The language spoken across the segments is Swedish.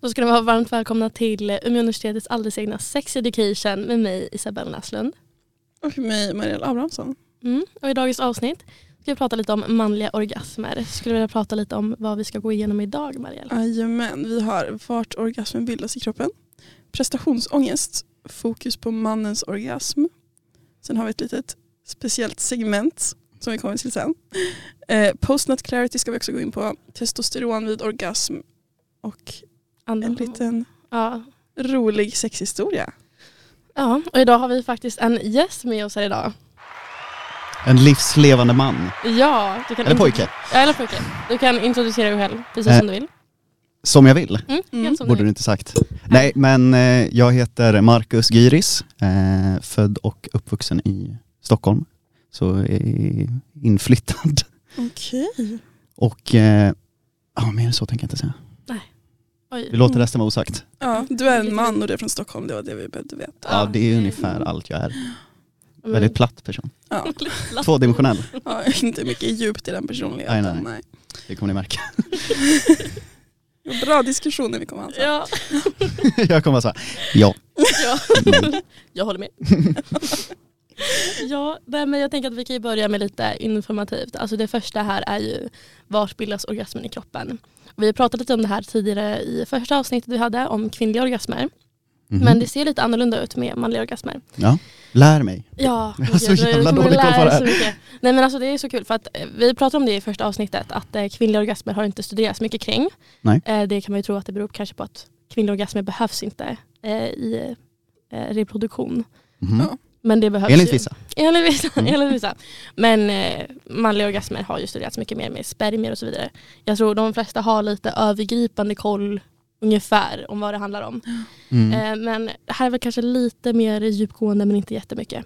Då ska ni vara varmt välkomna till Umeå universitetets alldeles egna Sex Education med mig Isabella Näslund. Och mig, Marielle Abrahamsson. Mm. Och I dagens avsnitt ska vi prata lite om manliga orgasmer. Skulle vilja prata lite om vad vi ska gå igenom idag Marielle. Jajamän, vi har vart orgasmen bildas i kroppen, prestationsångest, fokus på mannens orgasm. Sen har vi ett litet speciellt segment som vi kommer till sen. Eh, Postnat clarity ska vi också gå in på, testosteron vid orgasm och Andra en hormon. liten ja. rolig sexhistoria. ja, och idag har vi faktiskt en gäst med oss här idag. En livslevande man. Ja, du kan Eller intro- pojke. Ja, eller pojke. Du kan introducera dig själv precis Eh, som du vill. Som jag vill, Mm, Mm, Helt som borde du du vill. inte sagt. Nej, men eh, jag heter Marcus Gyris. Eh, född och uppvuxen i Stockholm. Så eh, inflyttad. Okej. Och... Eh, ja, mer än så tänker jag inte säga. Vi Oj. låter resten vara osagt. Ja, du är en man och du är från Stockholm, det var det vi behövde veta. Ja, det är ungefär allt jag Mm. är. men- Väldigt platt person. Ja, Tvådimensionell, ja, inte mycket djupt i den personligheten. Nej, nej, nej. det kommer ni märka. Bra diskussioner vi kommer att ha. Ja, jag kommer vara så här, ja. ja. Mm. jag håller med. ja, nej, men jag tänker att vi kan ju börja med lite informativt. Alltså det första här är ju vart bildas orgasmen i kroppen? Vi har pratat lite om det här tidigare i första avsnittet vi hade om kvinnliga orgasmer. Mhm. Men det ser lite annorlunda ut med manliga orgasmer. Lär mig. Ja, Jag har så gud, du alltså, jävla kommer dålig koll på lära det här. dig så mycket. Nej men alltså det är så kul för att eh, vi pratade om det i första avsnittet att eh, kvinnliga orgasmer har inte studerats mycket kring. Nej. Eh, det kan man ju tro att det beror kanske på att kvinnliga orgasmer behövs inte eh, i eh, reproduktion. Mhm. Ja. Men det behövs Enligt ju. vissa. Enligt vissa. Mm. Enligt vissa. Men eh, manliga orgasmer har ju studerats mycket mer med spermier och så vidare. Jag tror de flesta har lite övergripande koll ungefär om vad det handlar om. Mm. Eh, Men det här är väl kanske lite mer djupgående men inte jättemycket.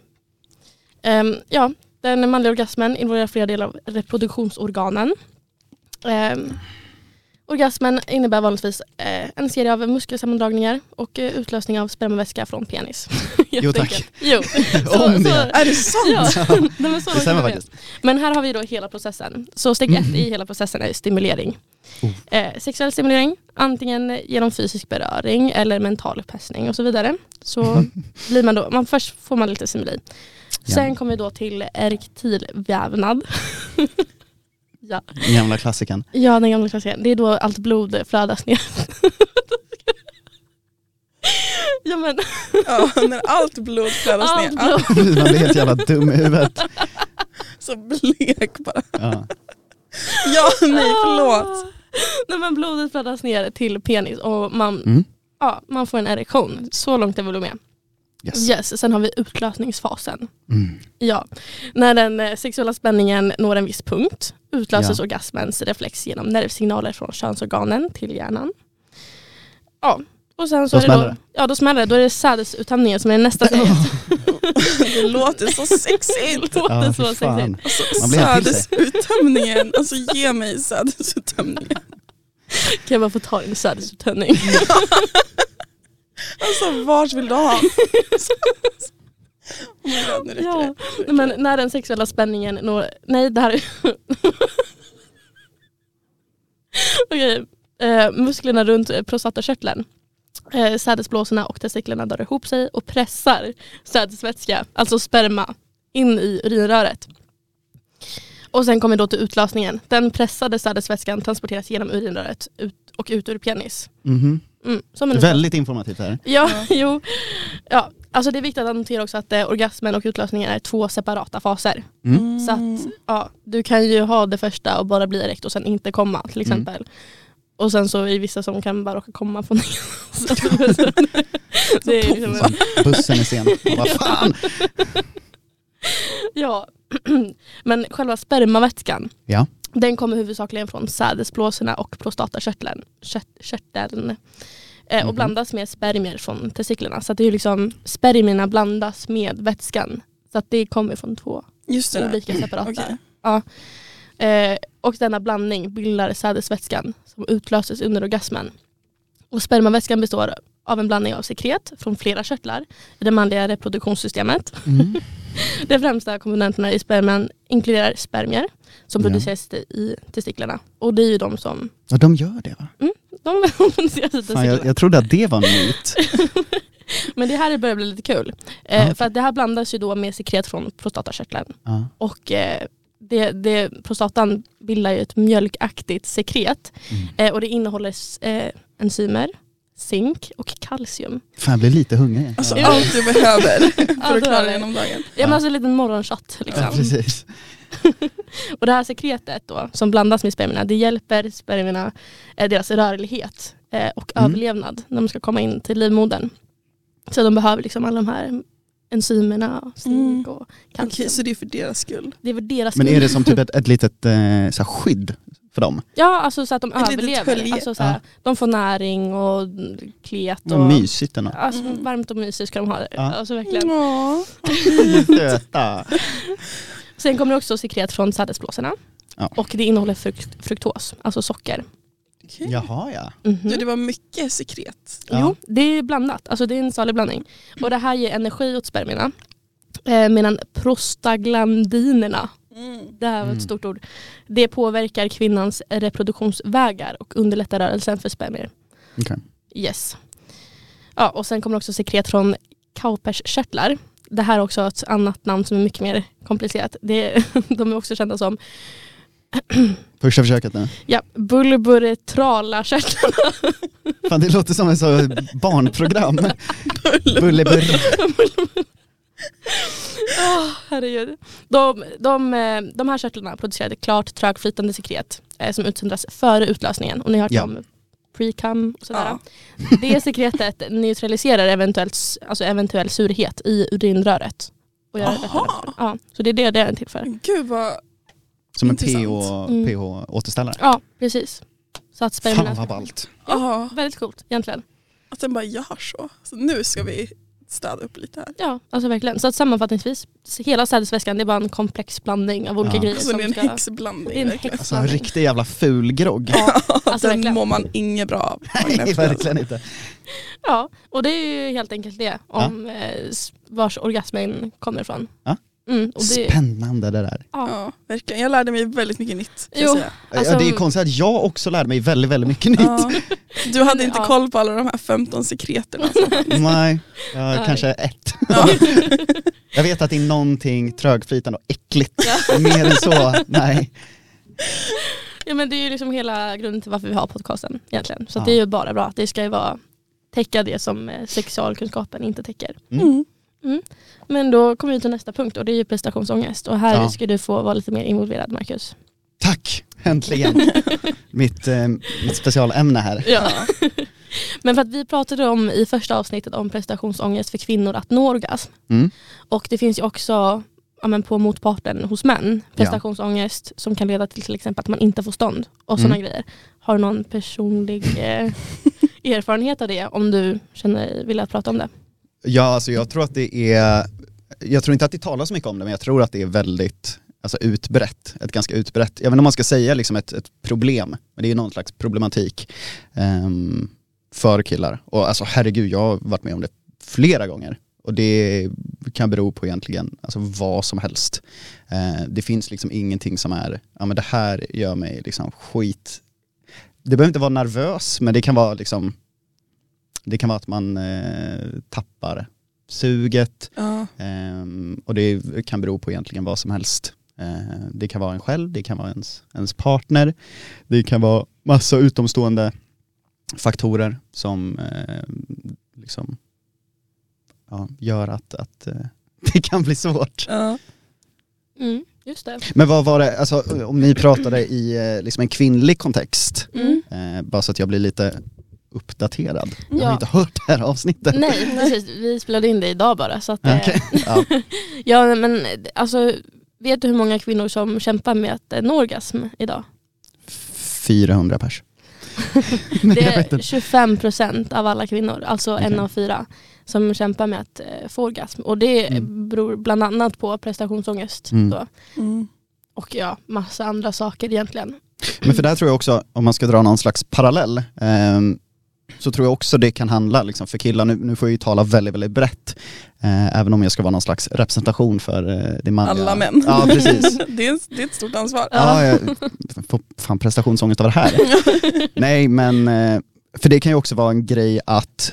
Ehm, Ja, den manliga orgasmen involverar flera delar av reproduktionsorganen. Ehm, Orgasmen innebär vanligtvis eh, en serie av muskelsammandragningar och eh, utlösning av spermavätska från penis. Helt tack. enkelt. Jo. Om det. Är det sant? Ja. Nej, men så Det stämmer långt är faktiskt. Mm. men här har vi då hela processen. Så steg ett i hela processen är stimulering. Oh. Eh, sexuell stimulering, antingen genom fysisk beröring eller mental upphetsning och så vidare. Så blir man då, man, först får man lite stimuli. Ja. Sen kommer vi då till erektil vävnad. ja. Gamla klassikern. ja, den gamla klassikern. Det är då allt blod flödas ner. ja men, Ja, när allt blod flödas allt ner. blod. Man blir helt jävla dum i huvudet. Så blek bara. Ja. Ja, nej Ah. förlåt. Nej men blodet flödas ner till penis och man Mm. ja, man får en erektion. Så långt är vi väl med. Yes. Yes, sen har vi utlösningsfasen. Mm. Ja. När den eh, sexuella spänningen når en viss punkt utlöses Ja. orgasmens reflex genom nervsignaler från könsorganen till hjärnan. Ja, och sen så Då är det då, smäller det. Ja, då smäller det. Då är det sädesuttömningen som är nästa steg. Alltså, Det låter så sexigt. Det Alltså, låter Ja, så fy fan. sexigt. Man blir helt till sig. Sädesuttömningen, alltså ge mig sädesuttömningen. Kan jag bara få ta en sädesuttömning? Alltså vart vill du ha? Oh my God, nu räcker Ja. det. Nej, Men när den sexuella spänningen når... Nej, det här är... Okej. Eh, musklerna runt eh, prostatakörteln, eh, sädesblåsorna och testiklarna drar ihop sig och pressar sädesvätska, alltså sperma, in i urinröret. Och sen kommer då till utlösningen. Den pressade sädesvätskan transporteras genom urinröret ut och ut ur penis. Mhm. Mm, som en Väldigt informativt här. Ja, Ja. jo. Ja, alltså det är viktigt att notera också att eh, orgasmen och utlösningen är två separata faser. Mm. Så att, ja, du kan ju ha det första och bara bli erekt och sen inte komma till exempel. Och sen så är det vissa som kan bara råka komma från ingenstans. det är liksom, Som bussen är sen. Vad fan! ja. Men själva spermavätskan, Ja. den kommer huvudsakligen från sädesblåsorna och prostatakörteln. Kört, körteln. Eh, och Mhm. blandas med spermier från testiklarna. Så att det är ju liksom spermierna blandas med vätskan. Så att det kommer från två Just det. där. olika separata Okej. Eh, och denna blandning bildar sädesvätskan som utlöses under orgasmen. Och spermavätskan består av en blandning av sekret från flera körtlar i det manliga reproduktionssystemet. Mm. De främsta komponenterna i sperman inkluderar spermier som Ja. produceras i testiklarna. Och det är ju de som Ja, de gör det va? de organiserar sig till Fan, jag, cyklarna. jag trodde att det var en myt. Men det här börjar bli lite kul. Eh, Ja. För att det här blandas ju då med sekret från prostatakörteln. Ja. Och eh, det, det, prostatan bildar ju ett mjölkaktigt sekret. Mm. Eh, och det innehåller s- eh, enzymer, zink och kalcium. Fan, jag blir lite hungrig. igen. Alltså Ja. allt du behöver Ja, för då att har klara vi. dig genom dagen. Ja, men alltså en liten morgonshot. Liksom. Ja, precis. Och det här sekretet då, som blandas med spermierna, det hjälper spermierna, eh, deras rörlighet eh, och Mm. överlevnad när de ska komma in till livmodern. Så de behöver liksom alla de här enzymerna, zink och Okej, kalcium. så det är för deras skull. Det är väl deras Men är skull. det som typ ett, ett litet eh, så här skydd för dem? Ja, alltså så att de Ett litet överlever. hölje. Alltså, så här, Ja. De får näring och klet och Vad mysigt ändå. Alltså, Mm. Varmt och mysigt ska de ha det. Ja. Alltså, verkligen. Ja. Söta. Sen kommer det också sekret från sädesblåsorna. Ja. Och det innehåller frukt, fruktos, alltså socker. Okay. Jaha ja. Mhm. Du, det var mycket sekret. Ja. Jo, det är blandat. Alltså det är en salig blandning. Och det här ger energi åt spermierna. Eh, medan prostaglandinerna, det här var ett Mm. stort ord, det påverkar kvinnans reproduktionsvägar och underlättar rörelsen för spermier. Okej. Yes. Ja, och sen kommer också sekret från Kaupers-körtlar. Det här är också ett annat namn som är mycket mer komplicerat. Det, de är också kända som Första försöket nu. ja, bulburetrala-körtlarna. Fan det låter som ett så barnprogram. Bullebur. Åh, herregud. De, de, eh, de här körtlarna producerade klart trögflytande sekret eh, som utsöndras före utlösningen. Och ni har hört Ja. om pre-cum och sådär. Ja. Det sekretet neutraliserar eventuellt, s- alltså eventuell surhet i urinröret. Och gör det lättare. Jaha. Ja, så det är det det är till för. Gud vad... Som en Intressant. Mm. PH-återställare. Ja, precis. Så att Fan spermierna... vad ballt. Ja. Väldigt coolt egentligen. Att den bara gör så. så. Nu ska vi städa upp lite här. Ja, alltså verkligen. Så att sammanfattningsvis, hela sädesväskan det är bara en komplex blandning av olika Ja. grejer. Alltså det är en Mm. ska- Det är häxblandning. en verkligen. Alltså en häxblandning. riktig jävla fulgrogg. Ja, alltså den verkligen. mår man inget bra av. Nej verkligen inte. Ja, och det är ju helt enkelt det om eh, s- vars orgasmen kommer ifrån. Ja. Mm, och det, Spännande det där. ja. Ja, verkligen. Jag lärde mig väldigt mycket nytt. kan Jo. Jag säga. Alltså- ja, det är konstigt att jag också lärde mig väldigt, väldigt mycket nytt. Ja. Du hade inte Ja. koll på alla de här 15 sekreterna. Alltså. Nej, jag Nej. kanske ett. Ja. Jag vet att det är någonting trögflytande och äckligt. Ja. Mer än så, nej. ja men det är ju liksom hela grunden till varför vi har podcasten egentligen. Så att Ja. det är ju bara bra. Det ska ju vara täcka det som eh, sexualkunskapen inte täcker. Mm. Men då kommer vi till nästa punkt och det är ju prestationsångest. Och här Ja. ska du få vara lite mer involverad Marcus. Tack, äntligen. Mitt, eh, mitt specialämne här. Ja. men för att vi pratade om i första avsnittet om prestationsångest för kvinnor att nå orgasm. Mm. Och det finns ju också ja, men på motparten hos män, prestationsångest som kan leda till till exempel att man inte får stånd och sådana Mm. grejer. Har du någon personlig eh, erfarenhet av det om du känner dig villig att prata om det? Ja, alltså jag tror att det är, jag tror inte att det talas så mycket om det, men jag tror att det är väldigt alltså utbrett, ett ganska utbrett, jag vet inte om man ska säga liksom ett, ett problem, men det är någon slags problematik ehm, för killar. Och alltså herregud, jag har varit med om det flera gånger. Och det kan bero på egentligen alltså vad som helst. Eh, det finns liksom ingenting som är, ja men det här gör mig liksom skit. Det behöver inte vara nervös, men det kan vara liksom, det kan vara att man eh, tappar suget, Ja. Ehm, och det kan bero på egentligen vad som helst. Ehm, det kan vara en själv, det kan vara ens, ens partner, det kan vara massa utomstående faktorer som ehm, liksom, ja, gör att, att eh, det kan bli svårt. Ja. Mm, just det. Men vad var det, alltså, om ni pratade i eh, liksom en kvinnlig kontext, Mm. eh, bara så att jag blir lite uppdaterad. Jag har Ja. inte hört det här avsnittet. Nej precis, vi spelade in det idag bara. Så att, eh, Okej. Ja. ja, men, eh, alltså, vet du hur många kvinnor som kämpar med att eh, nå orgasm idag? 400 pers. Nej, Det jag vet är inte. 25 procent av alla kvinnor, alltså en Okej. av fyra, som kämpar med att eh, få orgasm. Och det Mm. beror bland annat på prestationsångest Mm. då. Mm. och ja, massa andra saker egentligen. Men för där tror jag också, om man ska dra någon slags parallell, ehm, så tror jag också det kan handla liksom, för killar, nu, nu får jag ju tala väldigt, väldigt brett, eh, även om jag ska vara någon slags representation för eh, det manliga. Alla män. Ja, precis. det, är, det är ett stort ansvar. Ja, jag får fan prestationsångest av det här. Nej, men eh, för det kan ju också vara en grej att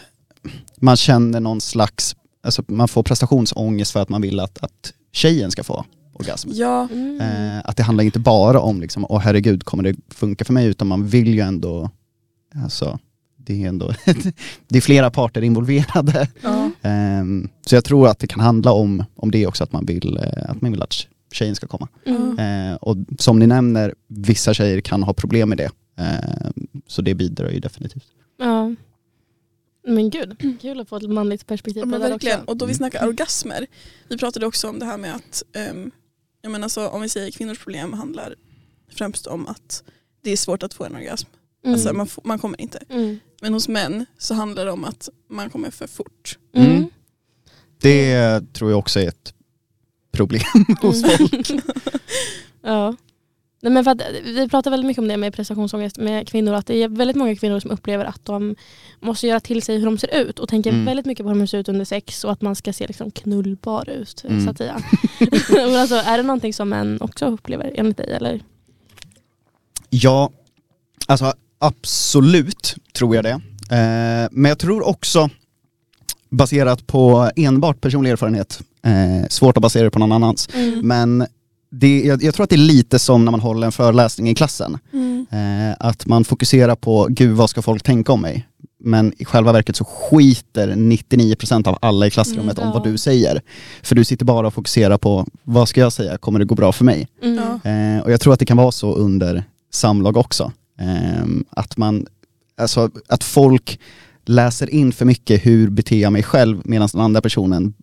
man känner någon slags, alltså man får prestationsångest för att man vill att, att tjejen ska få orgasm. Ja, Mm. Eh, att det handlar inte bara om liksom, åh herregud kommer det funka för mig, utan man vill ju ändå, alltså det är ändå, det är flera parter involverade. ja. Ehm, så jag tror att det kan handla om, om det också, att man vill, eh, att man vill att tjejen ska komma. Mm. Eh, och som ni nämner, vissa tjejer kan ha problem med det. Eh, så det bidrar ju definitivt. Ja. Men gud, kul att få ett manligt perspektiv Ja, på det men där verkligen. också. Och Mm. då vi snackar orgasmer, vi pratade också om det här med att, um, jag menar så, om vi säger kvinnors problem handlar främst om att det är svårt att få en orgasm. Mm. Alltså man, får, man kommer inte. Mm. Men hos män så handlar det om att man kommer för fort. Mm. Mm. Det tror jag också är ett problem. hos folk. Mm. ja. Nej, men för att, eh, vi pratar väldigt mycket om det med prestationsångest med kvinnor. Att det är väldigt många kvinnor som upplever att de måste göra till sig hur de ser ut och tänker Mm. väldigt mycket på hur de ser ut under sex och att man ska se liksom knullbar ut. Mm. Så att säga. men alltså, är det någonting som män också upplever enligt dig? Eller? Ja, alltså absolut tror jag det. Eh, men jag tror också, baserat på enbart personlig erfarenhet, eh, svårt att basera det på någon annans, men det, jag, jag tror att det är lite som när man håller en föreläsning i klassen. Mm. Eh, att man fokuserar på, gud vad ska folk tänka om mig? Men i själva verket så skiter 99% av alla i klassrummet Mm, om vad ja. du säger. För du sitter bara och fokuserar på, vad ska jag säga, kommer det gå bra för mig? Mm. Ja. Eh, och jag tror att det kan vara så under samlag också. Eh, att, man, alltså, att folk läser in för mycket, hur beter jag mig själv, medan den andra personen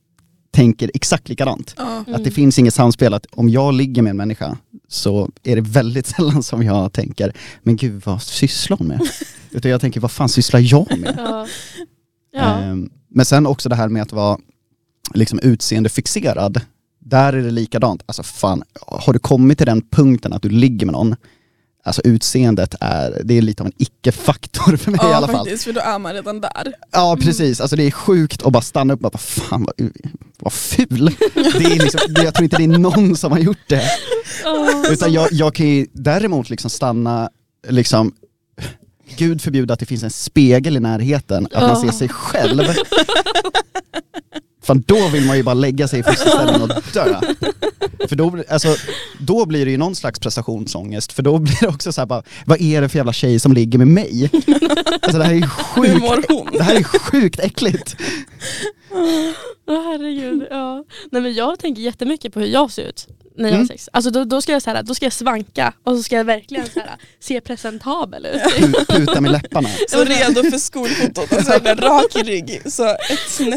tänker exakt likadant. Ja. Mm. Att det finns inget samspel, att om jag ligger med en människa så är det väldigt sällan som jag tänker, men gud vad sysslar hon med? Utan jag tänker, vad fan sysslar jag med? Ja. Ja. Ehm, Men sen också det här med att vara liksom utseendefixerad, där är det likadant. Alltså fan, har du kommit till den punkten att du ligger med någon, alltså utseendet är, det är lite av en icke-faktor för mig i alla fall. faktiskt, för då är man redan där. Ja precis, alltså det är sjukt att bara stanna upp och bara fan vad, vad ful. Det är liksom, det- jag tror inte det är någon som har gjort det. Ja. Utan jag, jag kan ju däremot liksom stanna, liksom, gud förbjude att det finns en spegel i närheten, att man Ja. ser sig själv. Fan då vill man ju bara lägga sig i fosterställning och dö. För då, blir- alltså, då blir det ju någon slags prestationsångest, för då blir det också så här bara, vad är det för jävla tjej som ligger med mig? Alltså det här är ju Hur sjukt, mår hon? det här är sjukt äckligt. Åh herregud. Ja. Nej, men jag tänker jättemycket på hur jag ser ut när jag har Mm. sex. Alltså, då, då, ska jag så här, då ska jag svanka och så ska jag verkligen så här, se presentabel ut. Pu- Puta med läpparna. Så redo för skolfotot, alltså verkligen rak i rygg. Så ett snett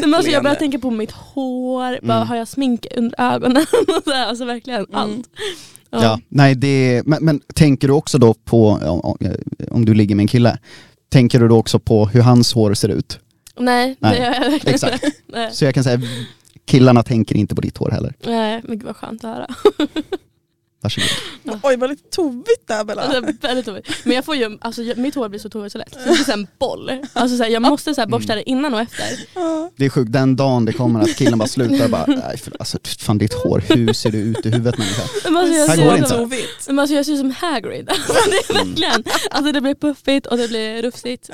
Men alltså, jag börjar leende. tänka på mitt hår, bara, Mm. har jag smink under ögonen? Och så här, alltså verkligen Mm. allt. Ja. Ja, nej det, men, men tänker du också då på, om, om du ligger med en kille, tänker du då också på hur hans hår ser ut? Nej, Nej, det gör jag verkligen exakt. inte. Nej. Så jag kan säga, killarna tänker inte på ditt hår heller. Nej, men gud vad skönt att höra. Varsågod. Oj vad lite tovigt där Bella. Alltså, väldigt roligt. men jag får ju, alltså, jag- mitt hår blir så torrt så lätt. Så det är så här en boll. Alltså, så här, jag måste så här, borsta Mm. det innan och efter. Ja. Det är sjukt, den dagen det kommer att killen bara slutar och bara, nej för, alltså, fan ditt hår, hur ser du ut i huvudet människa? Men, alltså, jag Här ser går ut det som- inte. Tovigt. Men alltså jag ser ut som Hagrid. Alltså det är verkligen, alltså det blir puffigt och det blir rufsigt.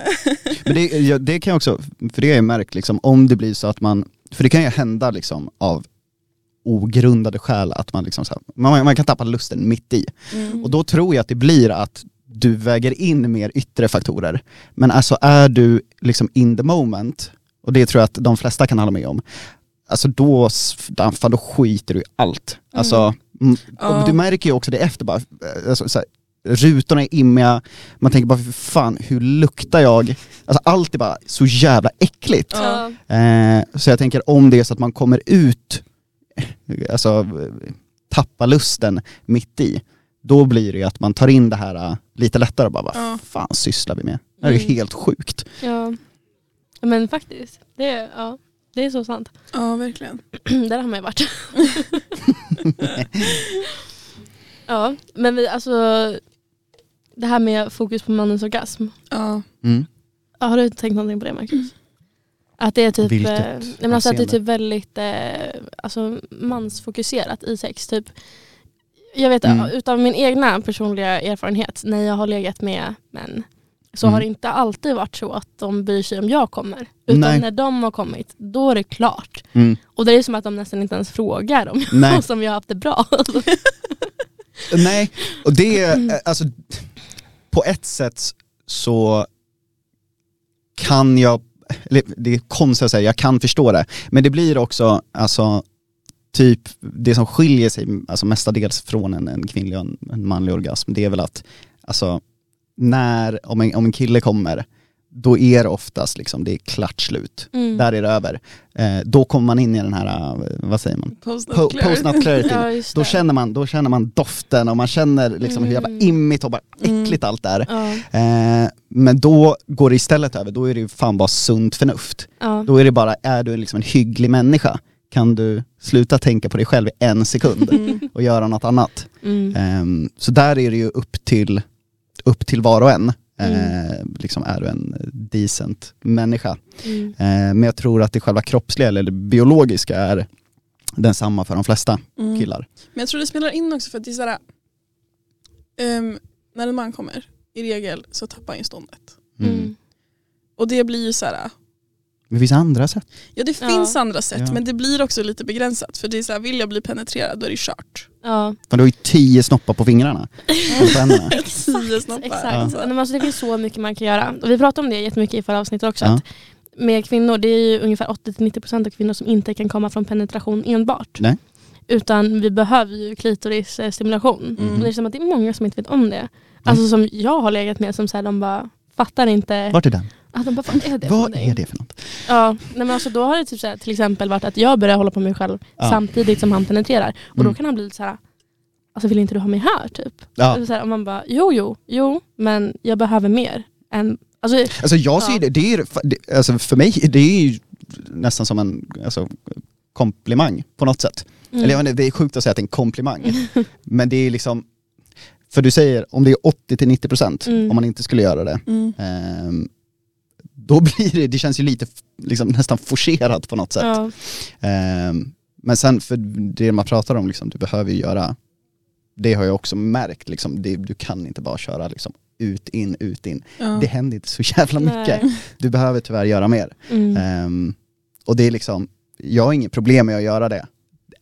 Men det, ja, det kan jag också, för det har jag märkt liksom, om det blir så att man, för det kan ju hända liksom av ogrundade skäl att man liksom så här, man, man kan tappa lusten mitt i. Mm. Och då tror jag att det blir att du väger in mer yttre faktorer. Men alltså är du liksom in the moment, och det tror jag att de flesta kan hålla med om, alltså då, s- fan, då skiter du i allt. Alltså, mm. Ja. och du märker ju också det efter bara, alltså, så här, rutorna är immiga, man tänker bara "Fy fan hur luktar jag? Alltså allt är bara så jävla äckligt. Ja. Ja. Eh, så jag tänker om det är så att man kommer ut, alltså tappa lusten mitt i, då blir det ju att man tar in det här eh, lite lättare och bara, vad Ja. fan sysslar vi med? Det här är ju Mm. helt sjukt. ja. Men faktiskt, det är, ja, det är så sant. ja verkligen. Där har man ju varit. ja, men vi alltså det här med fokus på mannens orgasm. Ja. Mm. Ja, har du tänkt någonting på det Marcus? Att det är typ, Vilket eh, nej, men alltså att det är avseende? typ väldigt eh, alltså, mansfokuserat i sex. Typ. Jag vet Mm. utav min egna personliga erfarenhet när jag har legat med män så Mm. har det inte alltid varit så att de bryr sig om jag kommer. Utan Nej. när de har kommit, då är det klart. Mm. Och det är som att de nästan inte ens frågar om Nej. jag, om jag har haft det bra. Nej, och det är, alltså på ett sätt så kan jag, eller det är konstigt att säga, jag kan förstå det. Men det blir också, alltså typ det som skiljer sig alltså, mestadels från en, en kvinnlig och en, en manlig orgasm, det är väl att alltså när, om en, om en kille kommer, då är det oftast liksom, det är klart slut. Mm. Där är det över. Eh, då kommer man in i den här, eh, vad säger man? Post Po- Post-nut clarity. Ja, just Då det. känner, man, då känner man doften och man känner liksom hur jävla Mm. immigt och bara Mm. äckligt allt är. Ja, Eh, men då går det istället över, då är det ju fan bara sunt förnuft. ja. Då är det bara, är du liksom en hygglig människa kan du sluta tänka på dig själv i en sekund Mm. och göra något annat. Mm. Ehm, så där är det ju upp till, upp till var och en. Mm. Eh, liksom är du en decent människa. Mm. Eh, men jag tror att det själva kroppsliga eller det biologiska är densamma för de flesta Mm. killar. Men jag tror det spelar in också för att det är såhär, ehm, när en man kommer i regel så tappar han ju ståndet. Mm. Mm. Och det blir ju såhär, Men det finns andra sätt. ja det Ja. finns andra sätt Ja. men det blir också lite begränsat för det är såhär, vill jag bli penetrerad då är det kört. Ja. Fan, du har ju tio snoppar på fingrarna. Och på händerna. Tio snoppar. Exakt. Alltså. Nej, men alltså, det finns så mycket man kan göra. Och vi pratade om det jättemycket i förra avsnittet också. Ja. Att med kvinnor, det är ju ungefär 80-90% av kvinnor som inte kan komma från penetration enbart. Nej. Utan vi behöver ju klitorisstimulation. Mm. Och Det är som att det är många som inte vet om det. Alltså som jag har legat med som så här, de bara fattar inte. Vart är den? Att de bara, vad är det för Vad någonting?" är det för något? Ja, nej men alltså då har det typ så här, till exempel varit att jag börjar hålla på med mig själv Ja. samtidigt som han penetrerar. Och Mm. då kan han bli lite så här, alltså vill inte du ha mig här typ? Ja. Och, så här, och man bara, jo jo, jo, men jag behöver mer. Än, alltså, Alltså jag ser Ja. det, det är, ju- det- alltså för mig det är ju nästan som en alltså, komplimang på något sätt. mm, Eller jag vet inte, det är sjukt att säga att det är en komplimang. Men det är liksom, för du säger om det är 80-90% Mm. om man inte skulle göra det, Mm. ehm, då blir det, det känns ju lite f- liksom, nästan forcerat på något sätt. ja, Ehm, men sen, för det man pratar om, liksom, du behöver ju göra, det har jag också märkt, liksom, det, du kan inte bara köra liksom, ut, in, ut, in. Ja. Mm. Det händer inte så jävla mycket. nej. Du behöver tyvärr göra mer. Mm. Ehm, och det är liksom, jag har inget problem med att göra det.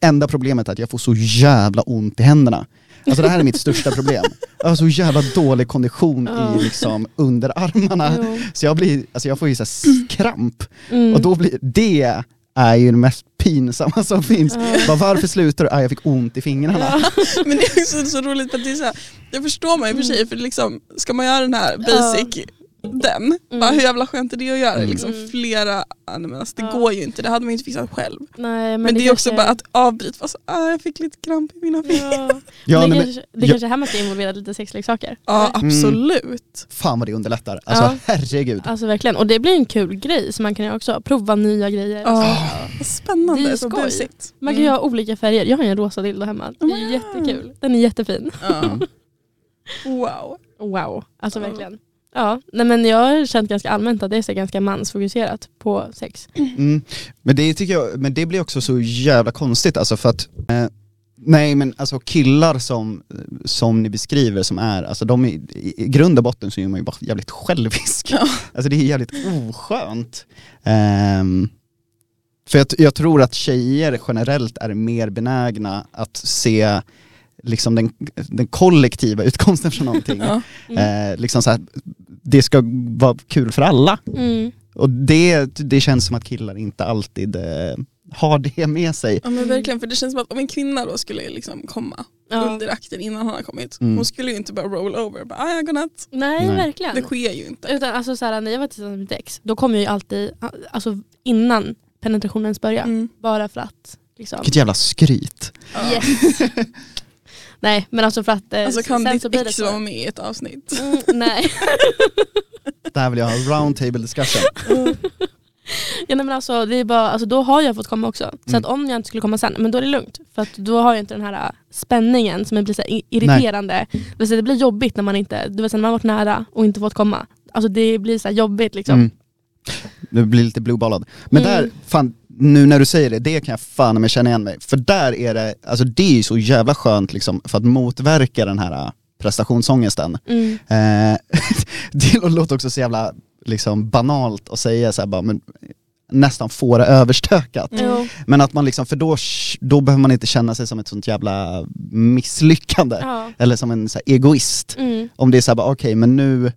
Enda problemet är att jag får så jävla ont i händerna. Alltså det här är mitt största problem. Jag har så jävla dålig kondition Ja. i liksom underarmarna. Jo. Så jag, blir, alltså jag får ju så här kramp Mm. och då blir det är ju det mest pinsamma som finns. Ja. Bara, varför slutar du? Ah, jag fick ont i fingrarna. Ja. Men det är också så roligt för att det är såhär, jag förstår mig i och för Mm. sig för liksom, ska man göra den här basic den, bara, hur jävla skönt är det att göra Mm. liksom Mm. flera, ja, nej, men alltså, det Ja. går ju inte, det hade man ju inte fixat själv. Nej, men, Men, det, är också bara kanske- att avbryta, fast, ah, jag fick lite kramp i mina fingrar. Ja. Ja, men det nej, men, kanske, det Ja. kanske är här man ska involvera lite sexleksaker. Ja absolut. fan vad det underlättar. Alltså Ja. herregud. Alltså verkligen, och det blir en kul grej som man kan göra också. Prova nya grejer. Ja, vad spännande, Det är ju så skoj. busigt. Mm. Man kan göra olika färger. Jag har ju en rosa dildo hemma. Det Oh my är God. jättekul. Den är jättefin. Ja. Mm. Wow. Wow, alltså Ja. verkligen. Ja, nej men jag har känt ganska allmänt att det är så ganska mansfokuserat på sex. Mm. Men, det tycker jag, men det blir också så jävla konstigt alltså för att eh, Nej men alltså killar som, som ni beskriver som är, alltså de är, i i grund och botten så är man ju bara jävligt självisk. Ja. Alltså det är jävligt oskönt. Ehm, för jag, t- jag tror att tjejer generellt är mer benägna att se liksom den, den kollektiva utkomsten från någonting. Ja. Mm. Eh, liksom så här, det ska vara kul för alla. Mm. Och det, det känns som att killar inte alltid eh, har det med sig. ja men verkligen, för det känns som att om en kvinna då skulle liksom komma Mm. Ja. under akten innan han har kommit, Mm. hon skulle ju inte bara roll over, bara, ah, ja, godnatt. Nej, Nej. verkligen. Det sker ju inte. Utan alltså så här, när jag var tillsammans med mitt ex, då kom jag ju alltid alltså, innan penetrationen ens började. Mm. Bara för att. Liksom. Vilket jävla skryt. Ja. Yes. nej, men alltså för att eh, Alltså kan sen ditt så blir det ex så. vara med i ett avsnitt? Mm, nej. Det här vill jag ha en round table discussion. Ja, nej men alltså, det är bara, alltså, då har jag fått komma också. Så Mm. att om jag inte skulle komma sen, men då är det lugnt. För att då har jag inte den här äh, spänningen som blir så här i- irriterande. Det vill säga, Det blir jobbigt när man inte, du vet, när man har varit nära och inte fått komma. Alltså det blir så här jobbigt liksom. Mm. nu blir lite blueballad. Men Mm. där, fan, nu när du säger det, det kan jag fan med känna igen mig. För där är det, alltså det är ju så jävla skönt liksom för att motverka den här äh, prestationsångesten. Mm. Eh, det låter också så jävla liksom banalt att säga så här bara, men nästan få det överstökat. Mm. Jo. Men att man liksom, för då, då behöver man inte känna sig som ett sånt jävla misslyckande. Ja. Eller som en så här egoist. Mm. Om det är så här, bara, okej men nu,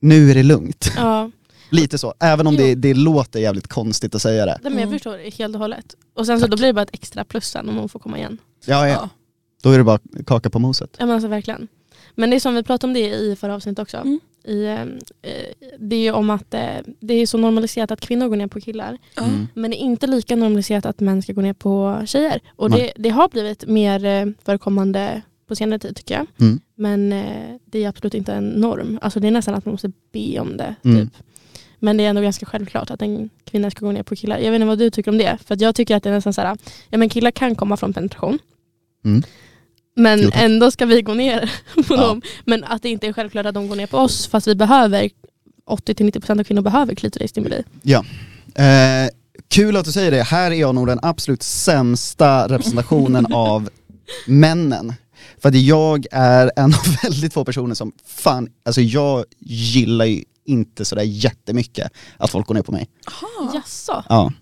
nu är det lugnt. ja. Lite så, även om det, det låter jävligt konstigt att säga det. Nej, men jag Mm. förstår det helt och hållet. Och sen så då blir det bara ett extra plus sen om hon får komma igen. Ja, ja. Ja. Då är det bara kaka på moset. Ja men alltså verkligen. Men det är som vi pratade om det i förra avsnittet också. Mm. I, eh, eh, det är ju om att eh, det är så normaliserat att kvinnor går ner på killar. Ja. Mm. Men det är inte lika normaliserat att män ska gå ner på tjejer. Och det, Nej. det har blivit mer eh, förekommande på senare tid tycker jag. Mm. Men eh, det är absolut inte en norm. Alltså det är nästan att man måste be om det. Typ. Mm. Men det är ändå ganska självklart att en kvinna ska gå ner på killar. Jag vet inte vad du tycker om det. För att jag tycker att det är nästan så här, ja men killar kan komma från penetration. Mm. Men Jo, tack. ändå ska vi gå ner på Ja. dem. Men att det inte är självklart att de går ner på oss fast vi behöver 80-90% av kvinnor behöver klitorisstimuli. Eh, kul att du säger det, här är jag nog den absolut sämsta representationen av männen. För att jag är en av väldigt få personer som, fan, alltså jag gillar ju inte sådär jättemycket att folk går ner på mig. Aha. Jaså, Ja,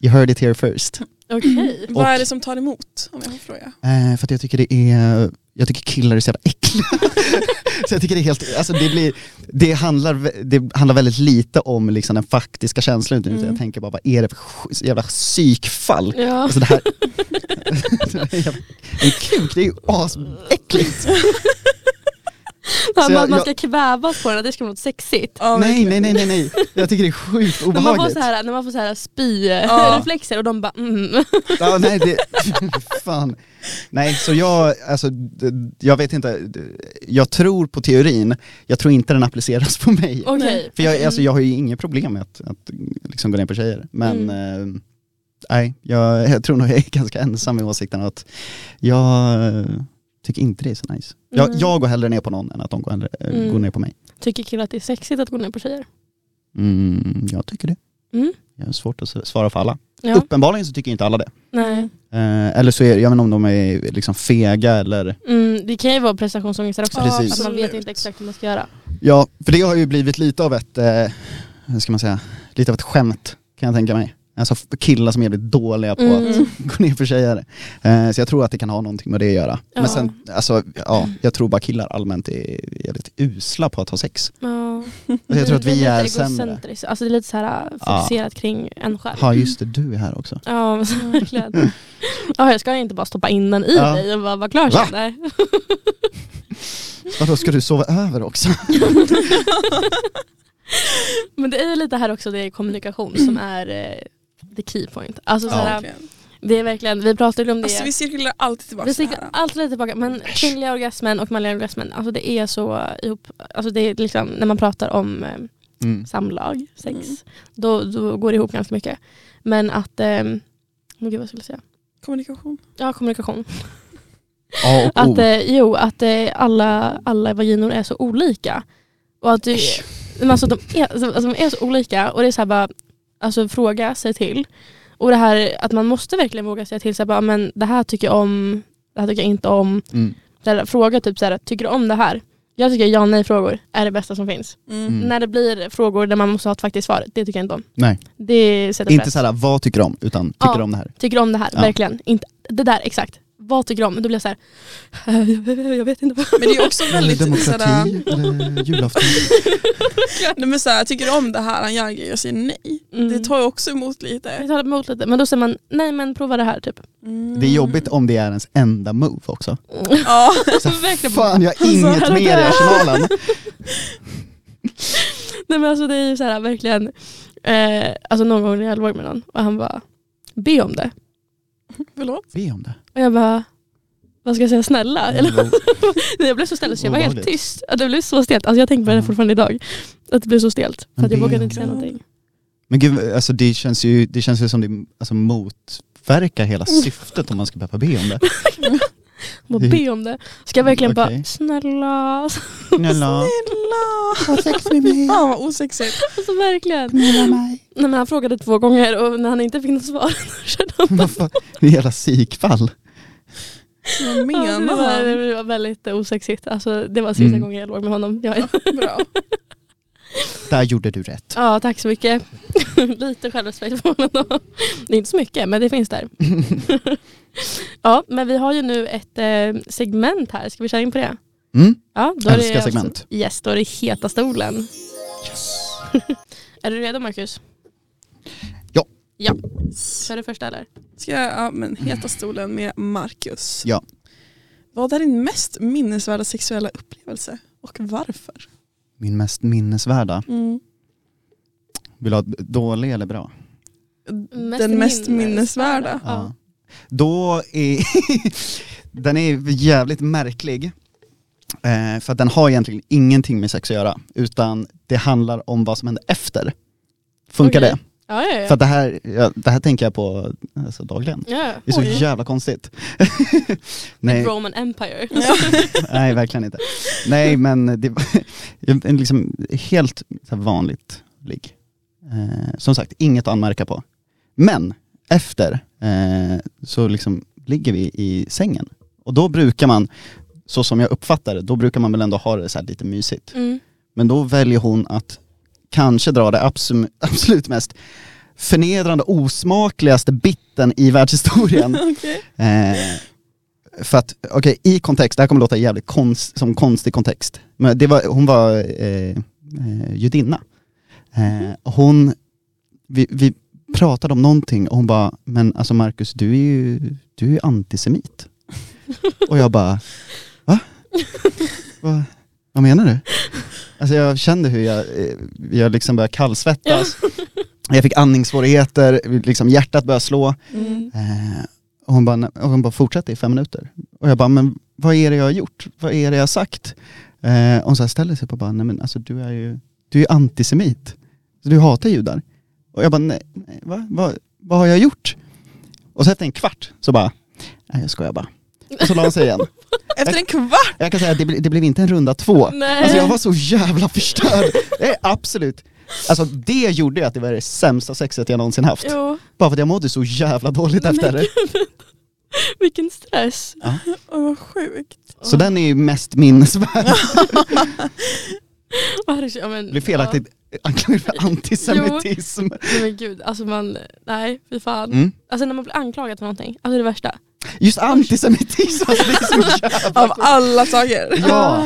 you heard it here first. okej. Vad Och- är det som tar emot om jag får fråga? Eh, för att jag tycker det är, jag tycker killar är så jävla äckliga. så jag tycker det är helt, alltså det blir, det handlar, vä- det handlar väldigt lite om liksom den faktiska känslan utan Mm. jag tänker bara vad är det för sj- jävla psykfall? Ja. Alltså det här, en kuk det är ju asäckligt. Ja, Så man, jag- man ska kvävas på den, att det ska vara något sexigt. Ja, Nej verkligen. nej nej nej nej, jag tycker det är sjukt När man får obehagligt. så här, när man får så här Ja. spyreflexer och de bara mm. Ja, nej, det, fan. nej så jag, alltså, d- jag vet inte, d- jag tror på teorin, jag tror inte den appliceras på mig. Okej. För jag, alltså, jag har ju inga problem med att, att liksom gå ner på tjejer. Men Mm. eh, nej, jag, jag tror nog jag är ganska ensam i åsikten att jag eh, tycker inte det är så nice. Jag, Mm. jag går hellre ner på någon än att de går, hellre, eh, Mm. går ner på mig. Tycker killar att det är sexigt att gå ner på tjejer? Mm, jag tycker det. Mm. Jag har svårt att s- svara för alla. Ja. Uppenbarligen så tycker inte alla det. Nej. Eh, eller så är det, jag vet inte om de är liksom fega eller Mm, det kan ju vara prestationsångest där också. Ja, Precis. Att man vet absolut. inte exakt vad man ska göra. Ja, för det har ju blivit lite av ett, eh, hur ska man säga, lite av ett skämt kan jag tänka mig. Alltså f- killar som är jävligt dåliga på Mm. att gå ner för tjejer. Eh, så jag tror att det kan ha någonting med det att göra. Ja. Men sen, alltså, ja, jag tror bara killar allmänt är jävligt usla på att ha sex. Ja. Och jag tror att Det vi lite är sämre. egocentriskt. Alltså det är lite så här äh, fokuserat kring en själv. Ja just det, du är här också. Ja, men så verkligen. Ja, jag ska ju inte bara stoppa in den i Ja. dig och bara vara klar Va? sen. Nej. Vadå, ska du sova över också? Men det är ju lite här också det är kommunikation som är eh, the key point. Alltså, så Mm. Ja. här, Verkligen. det är verkligen, vi pratade om det. Alltså, vi cirkulerar alltid tillbaka Vi till sticker det alltid lite tillbaka, men kvinnliga orgasmen och manliga orgasmen, alltså det är så ihop, alltså det är liksom när man pratar om eh, Mm. samlag, sex, Mm. då, då går det ihop ganska mycket. Men att, eh, oh gud vad skulle jag säga? Kommunikation. Ja, kommunikation. A och Att, O. eh, jo, att eh, alla, alla vaginor är så olika. Och att du, men alltså, de, är, alltså, de är så olika och det är så här bara, alltså fråga, säg till. Och det här att man måste verkligen våga säga till, så här bara, men det här tycker jag om, det här tycker jag inte om. Mm. där, fråga typ så här, tycker du om det här? Jag tycker ja nej frågor är det bästa som finns. Mm. Mm. När det blir frågor där man måste ha ett faktiskt svar, det tycker jag inte om. Nej, Det sätter inte press. såhär vad tycker du om, utan tycker Ja. du om det här? Tycker du om det här? Ja. Verkligen. Inte, det där exakt. Vad tycker du om? Då blir jag så här, jag vet inte. Men det är också väldigt sådär, Demokrati eller julafton? nej, men såhär, tycker du om det här? Han gör en grej och säger nej. Mm. Det tar ju också emot Jag lite. talar emot lite, men då säger man nej men prova det här typ. Mm. Det är jobbigt om det är ens enda move också. Ja. Så, Verkligen. fan, jag har inget Alltså, mer i arsenalen. Nej men alltså det är ju så här verkligen, eh, alltså någon gång när jag låg med någon och han bara, be om det. Förlåt? Be om det. Och jag bara, vad ska jag säga Mm. snälla? Eller Nej, jag blev så ställd så jag var helt Obehagligt. tyst. Ja, Det blev så stelt. Alltså, jag tänker på det här Mm. fortfarande idag. Att det blev så stelt. För Men att jag det- vågade inte säga någonting. Men gud, alltså det känns ju, det känns ju som det alltså, motverkar hela syftet om man ska behöva be om det. Hon bara be om det. Ska jag verkligen bara Okej. snälla. Alltså, Snälla, Snälla! ha sex med mig. Fan vad osexigt. Alltså verkligen. Knulla mig. Nej, men han frågade två gånger och när han inte fick något svar då körde han Vad fan, det är jävla psykfall. Vad Ja, det, var, menar det var väldigt osexigt. Alltså, det var sista Mm. gången jag låg med honom. Jag, han? Bra. Där gjorde du rätt. ja, tack så mycket. Lite självrespekt får man ha. Det är inte så mycket, men det finns där. ja, men vi har ju nu ett eh, segment här. Ska vi köra in på det? Mm? Ja, då Älskar det alltså- segment. Yes, då är det heta stolen. är du redo Marcus? Ja. Ja, kör du första eller? Ska jag, ja men heta stolen med Marcus. Ja. Vad är din mest minnesvärda sexuella upplevelse och varför? Min mest minnesvärda. Mm. Vill du ha dålig eller bra? Den mest minnesvärda. Ja. Ja. Då är... den är jävligt märklig. Eh, för att den har egentligen ingenting med sex att göra. Utan det handlar om vad som hände efter. Funkar Okej. det? Ja, ja, ja. För att det här, ja, det här tänker jag på alltså, dagligen. ja. ja. Det är så Oj. jävla konstigt. Nej, Roman Empire. nej, verkligen inte. Nej, men det var en liksom helt så här vanligt ligg. Eh, som sagt, inget att anmärka på. Men efter eh, så liksom ligger vi i sängen. Och då brukar man, så som jag uppfattar det, då brukar man väl ändå ha det så här lite mysigt. Mm. Men då väljer hon att kanske dra det absum- absolut mest förnedrande, osmakligaste bitten i världshistorien. Okej. eh, för att, okej, i kontext, det här kommer låta jävligt konst, som konstig kontext. Men det var, hon var eh, eh, judinna. Eh, hon, vi, vi pratade om någonting och hon bara, men alltså Marcus, du är ju du är ju antisemit. Och jag bara, va? Vad, vad menar du? Alltså jag kände hur jag, eh, jag liksom började kallsvettas. Jag fick andningssvårigheter, liksom hjärtat började slå. Mm. Eh, och hon bara, och hon bara fortsatte i fem minuter. Och jag bara, men vad är det jag har gjort? Vad är det jag har sagt? Eh, och hon så här ställer sig upp och bara, nej men alltså du är ju, du är ju antisemit. Så du hatar judar. Och jag bara, nej, nej va, va, vad har jag gjort? Och så efter en kvart så bara, nej jag skojar bara. Och så la hon sig igen. Efter en kvart! Jag kan säga att det, bli- det blev inte en runda två. Nej. Alltså jag var så jävla förstörd. Det är absolut, alltså det gjorde ju att det var det sämsta sexet jag någonsin haft. Jo, Bara för att jag mådde så jävla dåligt Men efter det. vilken stress. Åh vad sjukt. Så den är ju mest minnesvärd. Ja, det- ja, men- Det blir felaktigt anklagad för antisemitism. Ja, nej, men gud, alltså man, nej fy fan. Mm. Alltså när man blir anklagad för någonting, alltså det värsta. Just antisemitism, alltså det är så jävla... Av alla saker. Ja.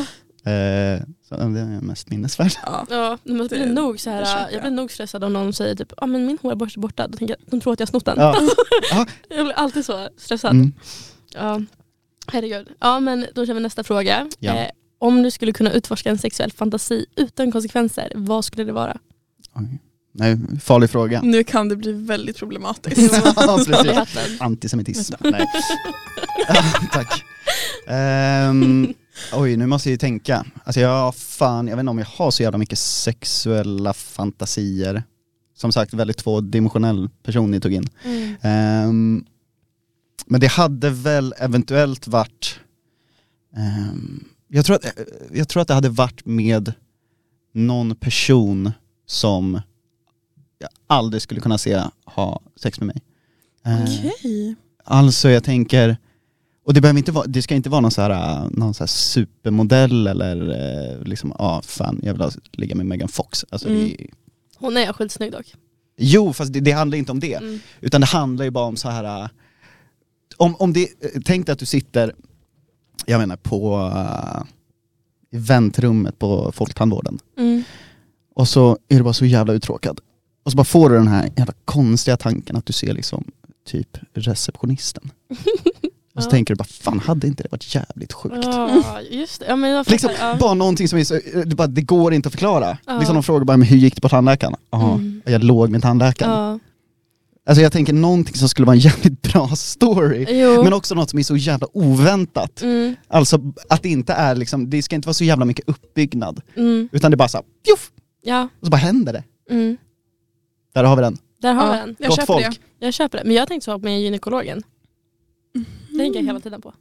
Eh, så den är mest minnesvärd. Ja. Ja, men jag blir Det- nog så det här, köper jag jag. blir nog stressad om någon säger typ, ja ah, men min hårborste är borta, då tänker jag, de tror att jag har snott den. Ja. Jag blir alltid så stressad. Mm. Ja. Herregud. Ja men då kör vi nästa fråga. Ja. Eh, om du skulle kunna utforska en sexuell fantasi utan konsekvenser, vad skulle det vara? Oj. Nej, farlig fråga. Nu kan det bli väldigt problematiskt. Ja, I precis. hatten. Antisemitism. Nej. Ja, Tack. Ehm, oj, nu måste jag ju tänka. Alltså jag, fan, jag vet inte om jag har så jävla mycket sexuella fantasier. Som sagt, väldigt tvådimensionell person ni tog in. Mm. Ehm, men det hade väl eventuellt varit, ehm, jag, tror att, eh, jag tror att det hade varit med någon person som jag aldrig skulle kunna se ha sex med mig. Ehm, Okej. Alltså jag tänker, och det, behöver inte vara, det ska inte vara någon så här, äh, någon så här supermodell eller eh, liksom, ja ah, fan jag vill ha- ligga med Megan Fox. Alltså, Mm. det, Hon är skitsnygg dock. jo fast det, det handlar inte om det. Mm. Utan det handlar ju bara om så här äh, om, om det, eh, tänk dig att du sitter, jag menar på äh, i väntrummet på Folktandvården Mm. och så är du bara så jävla uttråkad. Och så bara får du den här jävla konstiga tanken att du ser liksom typ receptionisten. Och så Ja. tänker du bara, fan hade inte det varit jävligt sjukt? Ja just det. Ja, men jag fattar. Liksom, ja. bara någonting som är så, eh, det, bara, det går inte att förklara. Ja. Liksom de frågar bara, men hur gick det på tandläkaren? Ja, Mm. jag låg med tandläkaren. ja. Alltså jag tänker någonting som skulle vara en jävligt bra story. Jo. Men också något som är så jävla oväntat. mm. Alltså att det inte är liksom, det ska inte vara så jävla mycket uppbyggnad. Mm. Utan det är bara såhär, pjoff! Ja. Och så bara händer det. Mm. Där har vi den. Där har vi Ja, den. jag Gott köper folk. det. Mm. Jag köper det. Men jag tänkte så med gynekologen. Det tänker jag hela tiden på.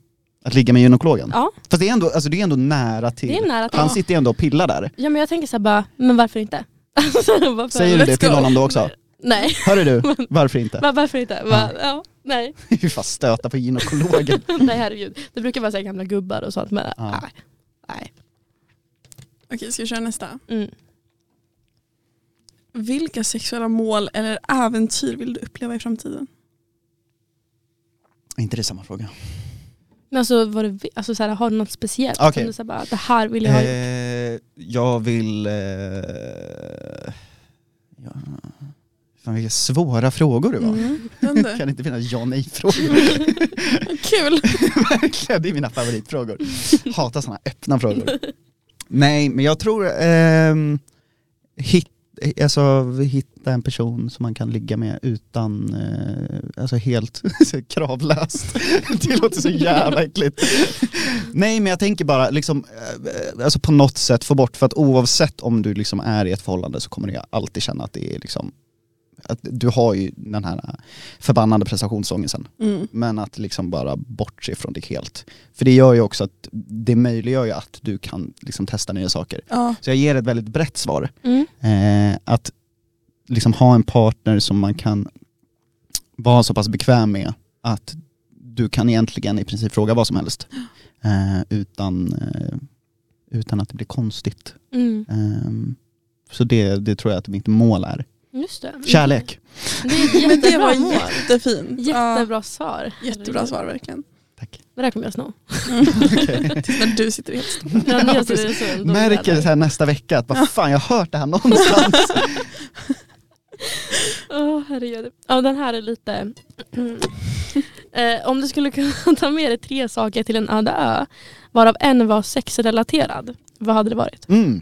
Att ligga med gynekologen? Ja, Fast det är ändå, alltså det är ändå nära till. det är nära till. Han sitter ju ändå och pillar där. Ja men jag tänker såhär bara, men varför inte? Alltså, varför? Säger du Let's det till go. honom då också? Nej, Hörru du, varför inte? bara, varför inte? Bara, ja, nej. Hur fan stöta på gynekologen? nej herregud. Det brukar vara så här gamla gubbar och sånt men Ja. nej. nej. Okej, ska vi köra nästa? Mm. Vilka sexuella mål eller äventyr vill du uppleva i framtiden? Är inte det samma fråga? Men alltså, vad du, vill- alltså så här, har du något speciellt? Okej. Som du säger bara, det här vill jag ha gjort. Eh, jag vill... Eh, ja, fan vilka svåra frågor det var. Mm. Den Jag du. Kan inte finna ja nej-frågor? Kul! Verkligen, det är mina favoritfrågor. Hatar sådana öppna frågor. Nej, men jag tror... ehm, hit, alltså, hitta en person som man kan ligga med utan... Eh, alltså helt så kravlöst. det låter så jävla äckligt. Nej, men jag tänker bara liksom... Eh, alltså på något sätt få bort, för att oavsett om du liksom är i ett förhållande så kommer du alltid känna att det är liksom... Att du har ju den här förbannade prestationsångesten Mm. men att liksom bara bortse från det helt. För det gör ju också att, det möjliggör ju att du kan liksom testa nya saker. Ja, Så jag ger ett väldigt brett svar. Mm. Eh, att liksom ha en partner som man kan vara så pass bekväm med att du kan egentligen i princip fråga vad som helst. Eh, utan, eh, utan att det blir konstigt. Mm. Ehm, så det, det tror jag att mitt mål är. Just det. Kärlek. Det är ett men det jättebra var mål. jättefint. Jättebra svar. Ja, jättebra svar verkligen. Tack. Det där kommer jag sno. Tills när du sitter helt still. När ni Mm. Ja, gör så, precis. det är så- då- Märker så här nästa vecka att vad fan jag har hört det här någonstans. Åh herregud. Ja den här är lite... eh, om du skulle kunna ta med dig tre saker till en öde ö, varav en var sexrelaterad, vad hade det varit? Mm.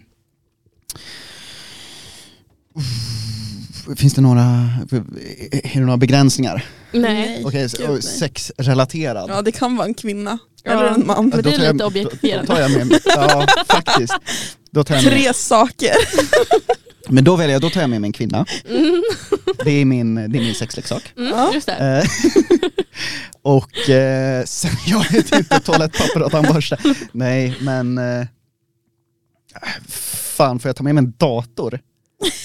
Finns det några, är det några begränsningar? Okej, gud, nej. okay, sexrelaterad. Ja, det kan vara en kvinna. Ja. Eller en man. men Då det är tar jag- lite Då objektifierande. tar jag med mig, ja faktiskt. Då tar jag med, Tre saker. men då väljer jag, då tar jag med mig en kvinna. Mm, Det är min, det är min sexleksak. mm, Ja. Just det. Eh, och eh, sen, jag vet inte, toalettpapper och tandborste. Nej men, eh, fan får jag ta med mig en dator?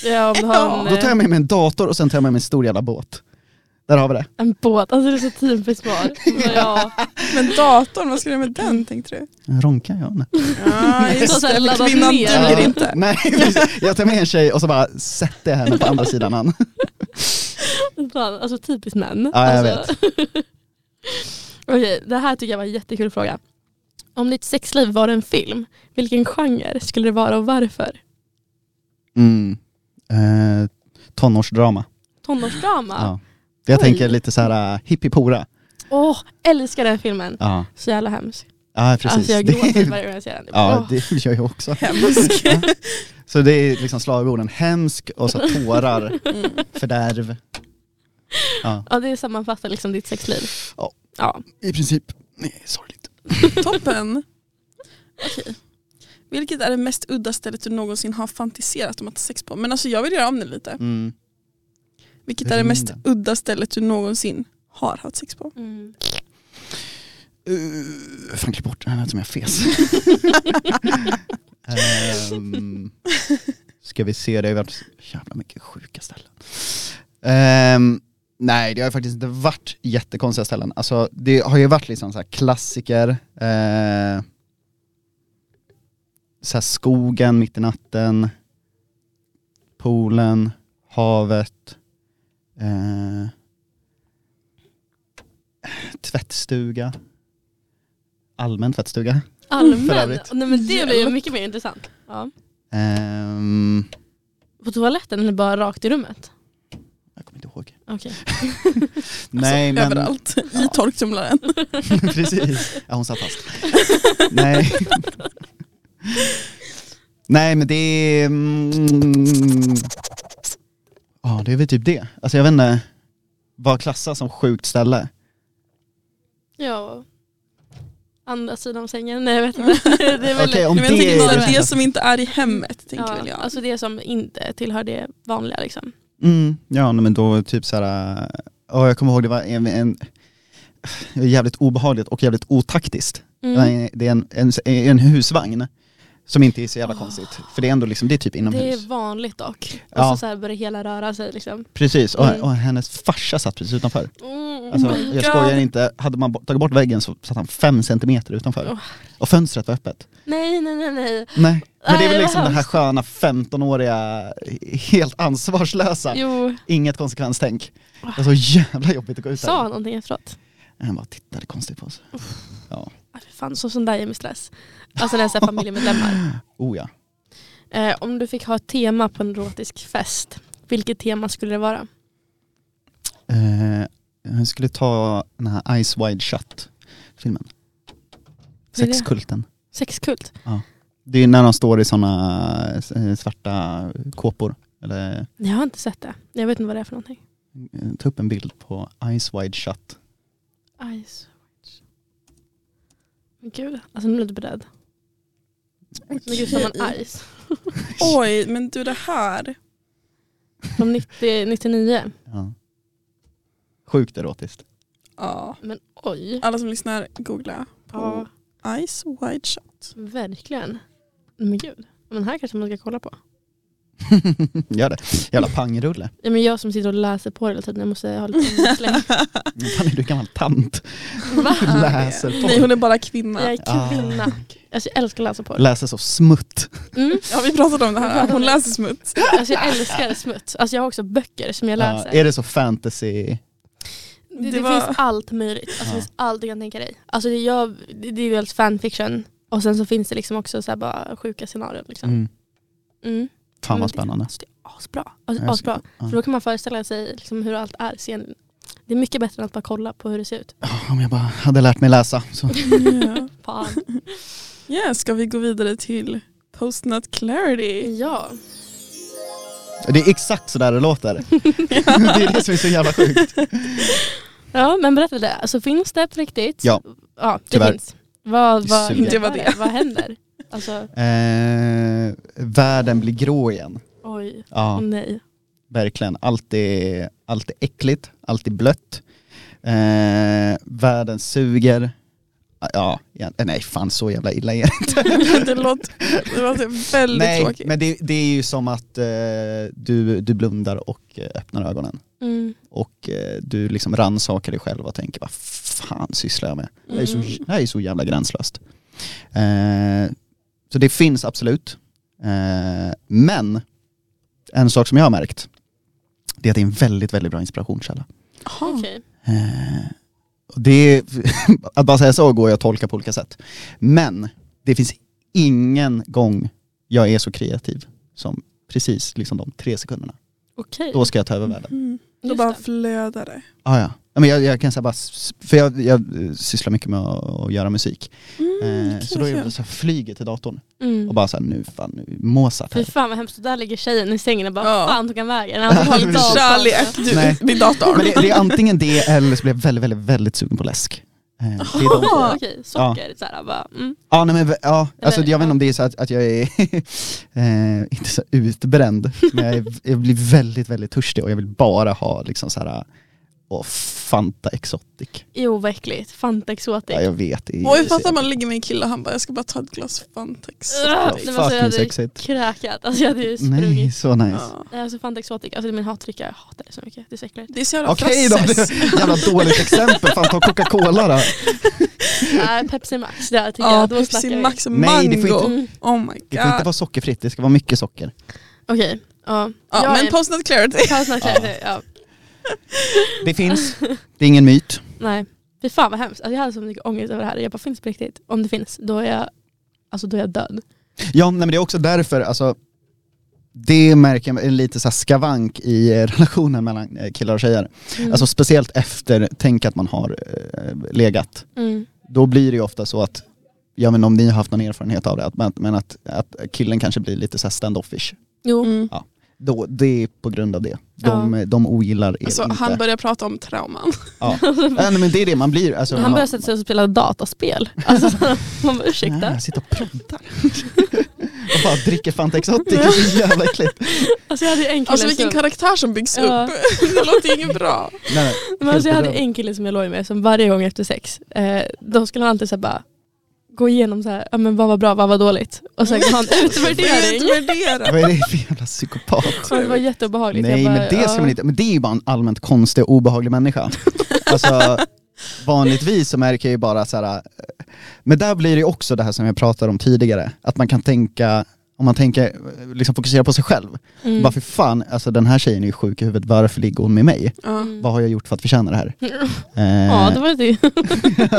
Ja, om eh, du har en, Då tar jag med mig en dator och sen tar jag med mig en stor jävla båt. Där har vi det. en båt, alltså det är så typiskt svar. Men Ja. Men datorn, vad ska du göra med den tänkte du? Ronkar jag? Nej. Ja, Så just här, det. ladda Kvinnan ner. duger Ja. inte. Nej, precis. jag tar med en tjej och så bara sätter jag henne på andra sidan han. Fan, Alltså typiskt män. Ja, jag alltså. Okej, det här tycker jag var en jättekul fråga. Om ditt sexliv var en film, vilken genre skulle det vara och varför? Mm. Eh, tonårsdrama. Tonårsdrama? Ja. Jag Oj. tänker lite så här uh, hippie-pora. Åh, älskar den filmen. Ja, Så jävla hemsk. ja precis. Alltså jag Det- gråter varje gång jag ser den. Ja, Åh. det gör jag också. Hemskt. Så det är liksom slagorden hemsk och så tårar, Mm. fördärv. Ja, ja, det sammanfattar liksom ditt sexliv. Ja. ja. i princip. Nej, sorgligt. Toppen. Okej. Vilket är det mest udda stället du någonsin har fantiserat om att ha sex på? Men alltså jag vill göra om det lite. Mm. Vilket är det mest Rymden. udda stället du någonsin har haft sex på? Mm. Uh, fan klipp bort den här som jag fes. um, ska vi se, det har varit så jävla mycket sjuka ställen. Ehm, nej det har ju faktiskt inte varit jättekonstiga ställen. Alltså det har ju varit liksom så här klassiker. eh, så här skogen mitt i natten. Poolen, havet. eh, tvättstuga. Allmän tvättstuga. För Allmän. övrigt. Nej, men det blir ju mycket mer intressant. Ja. Ehm, På toaletten eller bara rakt i rummet? jag kommer inte ihåg. Okej. Nej men... Alltså, Överallt. I Ja. torktumlaren. Precis. Ja, hon satt fast. Nej. Nej men det är... mm, Ja det är väl typ det. Alltså jag vet inte. Vad klassas som sjukt ställe? Ja. Andra sidan av sängen? Nej jag vet inte. Det är väl, Okej, om Men jag det tänker är bara det det mest- som inte är i hemmet. Tänker ja, väl jag. Alltså det som inte tillhör det vanliga liksom. Mm, ja nej, men då typ så här. äh, Ja jag kommer ihåg det var en, en, jävligt obehagligt och jävligt otaktiskt. Mm. Det är en, en, en husvagn som inte är så jävla Åh. konstigt. För det är ändå liksom, det är typ Ah. Det är inomhus. vanligt dock. Och Ja. så, så här börjar hela röra sig liksom. Precis, och, Mm. och hennes farsa satt precis utanför. Mm. Alltså, Oh my jag skojar God. inte, hade man bo- tagit bort väggen så satt han fem centimeter utanför. Åh. Och fönstret var öppet. Nej, nej, nej, nej. Nej, men det är Nej, väl vad liksom den här hemskt. sköna 15-åriga, helt ansvarslösa, Jo, Oh. inget konsekvenstänk. Det var så jävla jobbigt att gå ut sa han där. någonting efteråt? Han bara tittade konstigt på oss. Ah, fy Fan, så sån där ger mig stress. Alltså när jag ser familjemedlemmar. Oh ja. Eh, om du fick ha ett tema på en erotisk fest, vilket tema skulle det vara? Eh, jag skulle ta den här Ice Wide Shut filmen. Vad är det? Sexkulten. Sexkult? Det är när de står i sådana eh, svarta kåpor. Eller, Jag har inte sett det. Jag vet inte vad det är för någonting. eh, ta upp en bild på Ice Wide Shut. Ice Watch. Men gud, alltså nu är jag lite beredd. Men gud, sa man ice? Oj, men du det här. Från 90, 99? Ja. Sjukt erotiskt. Ja. Men oj. Alla som lyssnar, googla. Ja, Ice Wide Shut. verkligen. Men gud. Men här kanske man ska kolla på. Gör det. Jävla pangrulle. Ja, men jag som sitter och läser på det hela tiden, jag måste ha lite släng. Fan är du gammal tant? Va? Läser på. Nej, hon är bara kvinna. Jag är kvinna. Alltså jag älskar att läsa på det. Ah, Läser så smutt. Mm. Ja, vi pratade om det här. Hon läser smuts. Alltså jag älskar smuts. Alltså jag har också böcker som jag Ja, läser. Ah, är det så fantasy? det det, Det var- finns allt möjligt. Alltså det Ja. finns allt du kan tänka dig. Alltså det, jag, det, det är ju helt fanfiction. Och sen så finns det liksom också så här bara sjuka scenarion. Liksom. Mm. Mm. Fan Men vad det- spännande. Alltså det är asbra. Alltså, Jag asbra. ja. För då kan man föreställa sig liksom hur allt är scenen. Det är mycket bättre än att bara kolla på hur det ser ut. Ja, Om Ah, jag bara hade lärt mig läsa. Så. Ja. Fan. Ja, ska vi gå vidare till Postnut Clarity? Ja. Det är exakt sådär det låter. det är det som är så jävla sjukt. ja, men berätta det. Alltså finns det på riktigt? Ja. ja det Tyvärr. finns. Vad, vad, Suger. Det var det. vad händer? Alltså, Eh, världen blir grå igen. oj. Ja. Åh nej. Verkligen. Allt är, allt är äckligt, allt är blött. Eh, världen suger. Ja, ja, nej fan så jävla illa är det Mm. det låter, det låter väldigt Nej, tråkigt. men det, det är ju som att eh, du, du blundar och eh, öppnar ögonen. Mm. Och eh, du liksom rannsakar dig själv och tänker vad fan sysslar jag med? Det här är så, Mm. det här är så jävla gränslöst. Eh, så det finns absolut. Eh, men en sak som jag har märkt, det är att det är en väldigt, väldigt bra inspirationskälla. Jaha. Okej. Eh, och det, att bara säga så går jag att tolka på olika sätt. Men det finns ingen gång jag är så kreativ som precis liksom de tre sekunderna. Okej. Då ska jag ta över världen. Mm. Då Just bara det. flödar det. Ah, ja. Ja, Men jag, jag kan säga bara, s- för jag, jag eh, sysslar mycket med att, att göra musik. Mm, eh, kul, så då är kul. jag så här, flyger till datorn Mm. och bara såhär, nu fan, nu Mozart Fy här. fan vad hemskt, där ligger tjejen i sängen och bara Ja. fan tog han vägen? Han har en dator. Kärlek, du, Nej. min dator. Men det, det är antingen det eller så blir jag väldigt, väldigt, väldigt sugen på läsk. Eh, det är de två. Jaha, Okej, socker. Så här, bara, mm. Ja, nej, men, ja alltså, Eller- jag vet inte om det är så att, att jag är, eh, inte så utbränd, men jag, är, jag blir väldigt, väldigt törstig och jag vill bara ha liksom så här, åh, Fanta Exotic. Jo vad äckligt, Fanta Exotic. Ja, jag vet. det är- Oj, fattar man ligger med en kille och han bara jag ska bara ta ett glas Fanta Ugh, Exotic. nej, men alltså, jag Fucking hade sexigt. kräkat, alltså jag hade ju Nej, sprungit. så nice. Ja. Nej. Alltså Fanta Exotic, alltså det är min hatdricka, jag hatar det så mycket. Det är så äckligt. Det är så jävla Okej då, det frasses. är jävla dåligt exempel. Fan ta Coca-Cola då. Nej, Pepsi Max, det här tycker Ja, jag, då snackar Pepsi vi. Max och Nej, det får mango. Mm. Oh my god. Det får inte vara sockerfritt, det ska vara mycket socker. Okej, ja. ja, Jag men är- Postnut Clarity. Paus Max, Ja. ja. Det finns, det är ingen myt. Nej, fy fan vad hemskt. Alltså, jag hade så mycket ångest över det här. Jag bara, finns det på riktigt? Om det finns, då är jag, alltså, då är jag död. Ja, nej, men det är också därför, alltså, det märker jag är lite så här skavank i eh, relationen mellan eh, killar och tjejer. Mm. Alltså speciellt efter, tänk att man har eh, legat. mm. Då blir det ju ofta så att, jag vet inte om ni har haft någon erfarenhet av det, att, men- men att, att killen kanske blir lite så här standoffish. Jo, Mm. Då, det är på grund av det. De, de ogillar er Alltså, inte. han börjar prata om trauman. Ja. ja, nej, men det är det man blir. Alltså, han man- började sätta sig och spela dataspel. Alltså, man bara, ursäkta. Nej, sitta och proddar. Och bara dricker Fanta Exotic, det är så jävla äckligt. Alltså jag hade en kille Alltså vilken som, karaktär som byggs Ja. upp. Det låter inget bra. Nej, nej. men alltså jag hade en kille som jag låg med som varje gång efter sex, eh, då skulle han alltid så här bara gå igenom så här, ja, men vad var bra, vad var dåligt. Och sen Mm. gav han utvärdering. Utvärdera. Vad är det för jävla psykopat? Och det var jätteobehagligt. Nej Jag bara, men det ska ja. man inte, men det är ju bara en allmänt konstig och obehaglig människa. Alltså, vanligtvis så märker jag ju bara så här, eh, men där blir det ju också det här som jag pratade om tidigare, att man kan tänka, om man tänker, eh, liksom fokusera på sig själv. Mm. Bara för fan, alltså den här tjejen är ju sjuk i huvudet, varför ligger hon med mig? Ja. Mm. Vad har jag gjort för att förtjäna det här? Ja, Eh, det var det.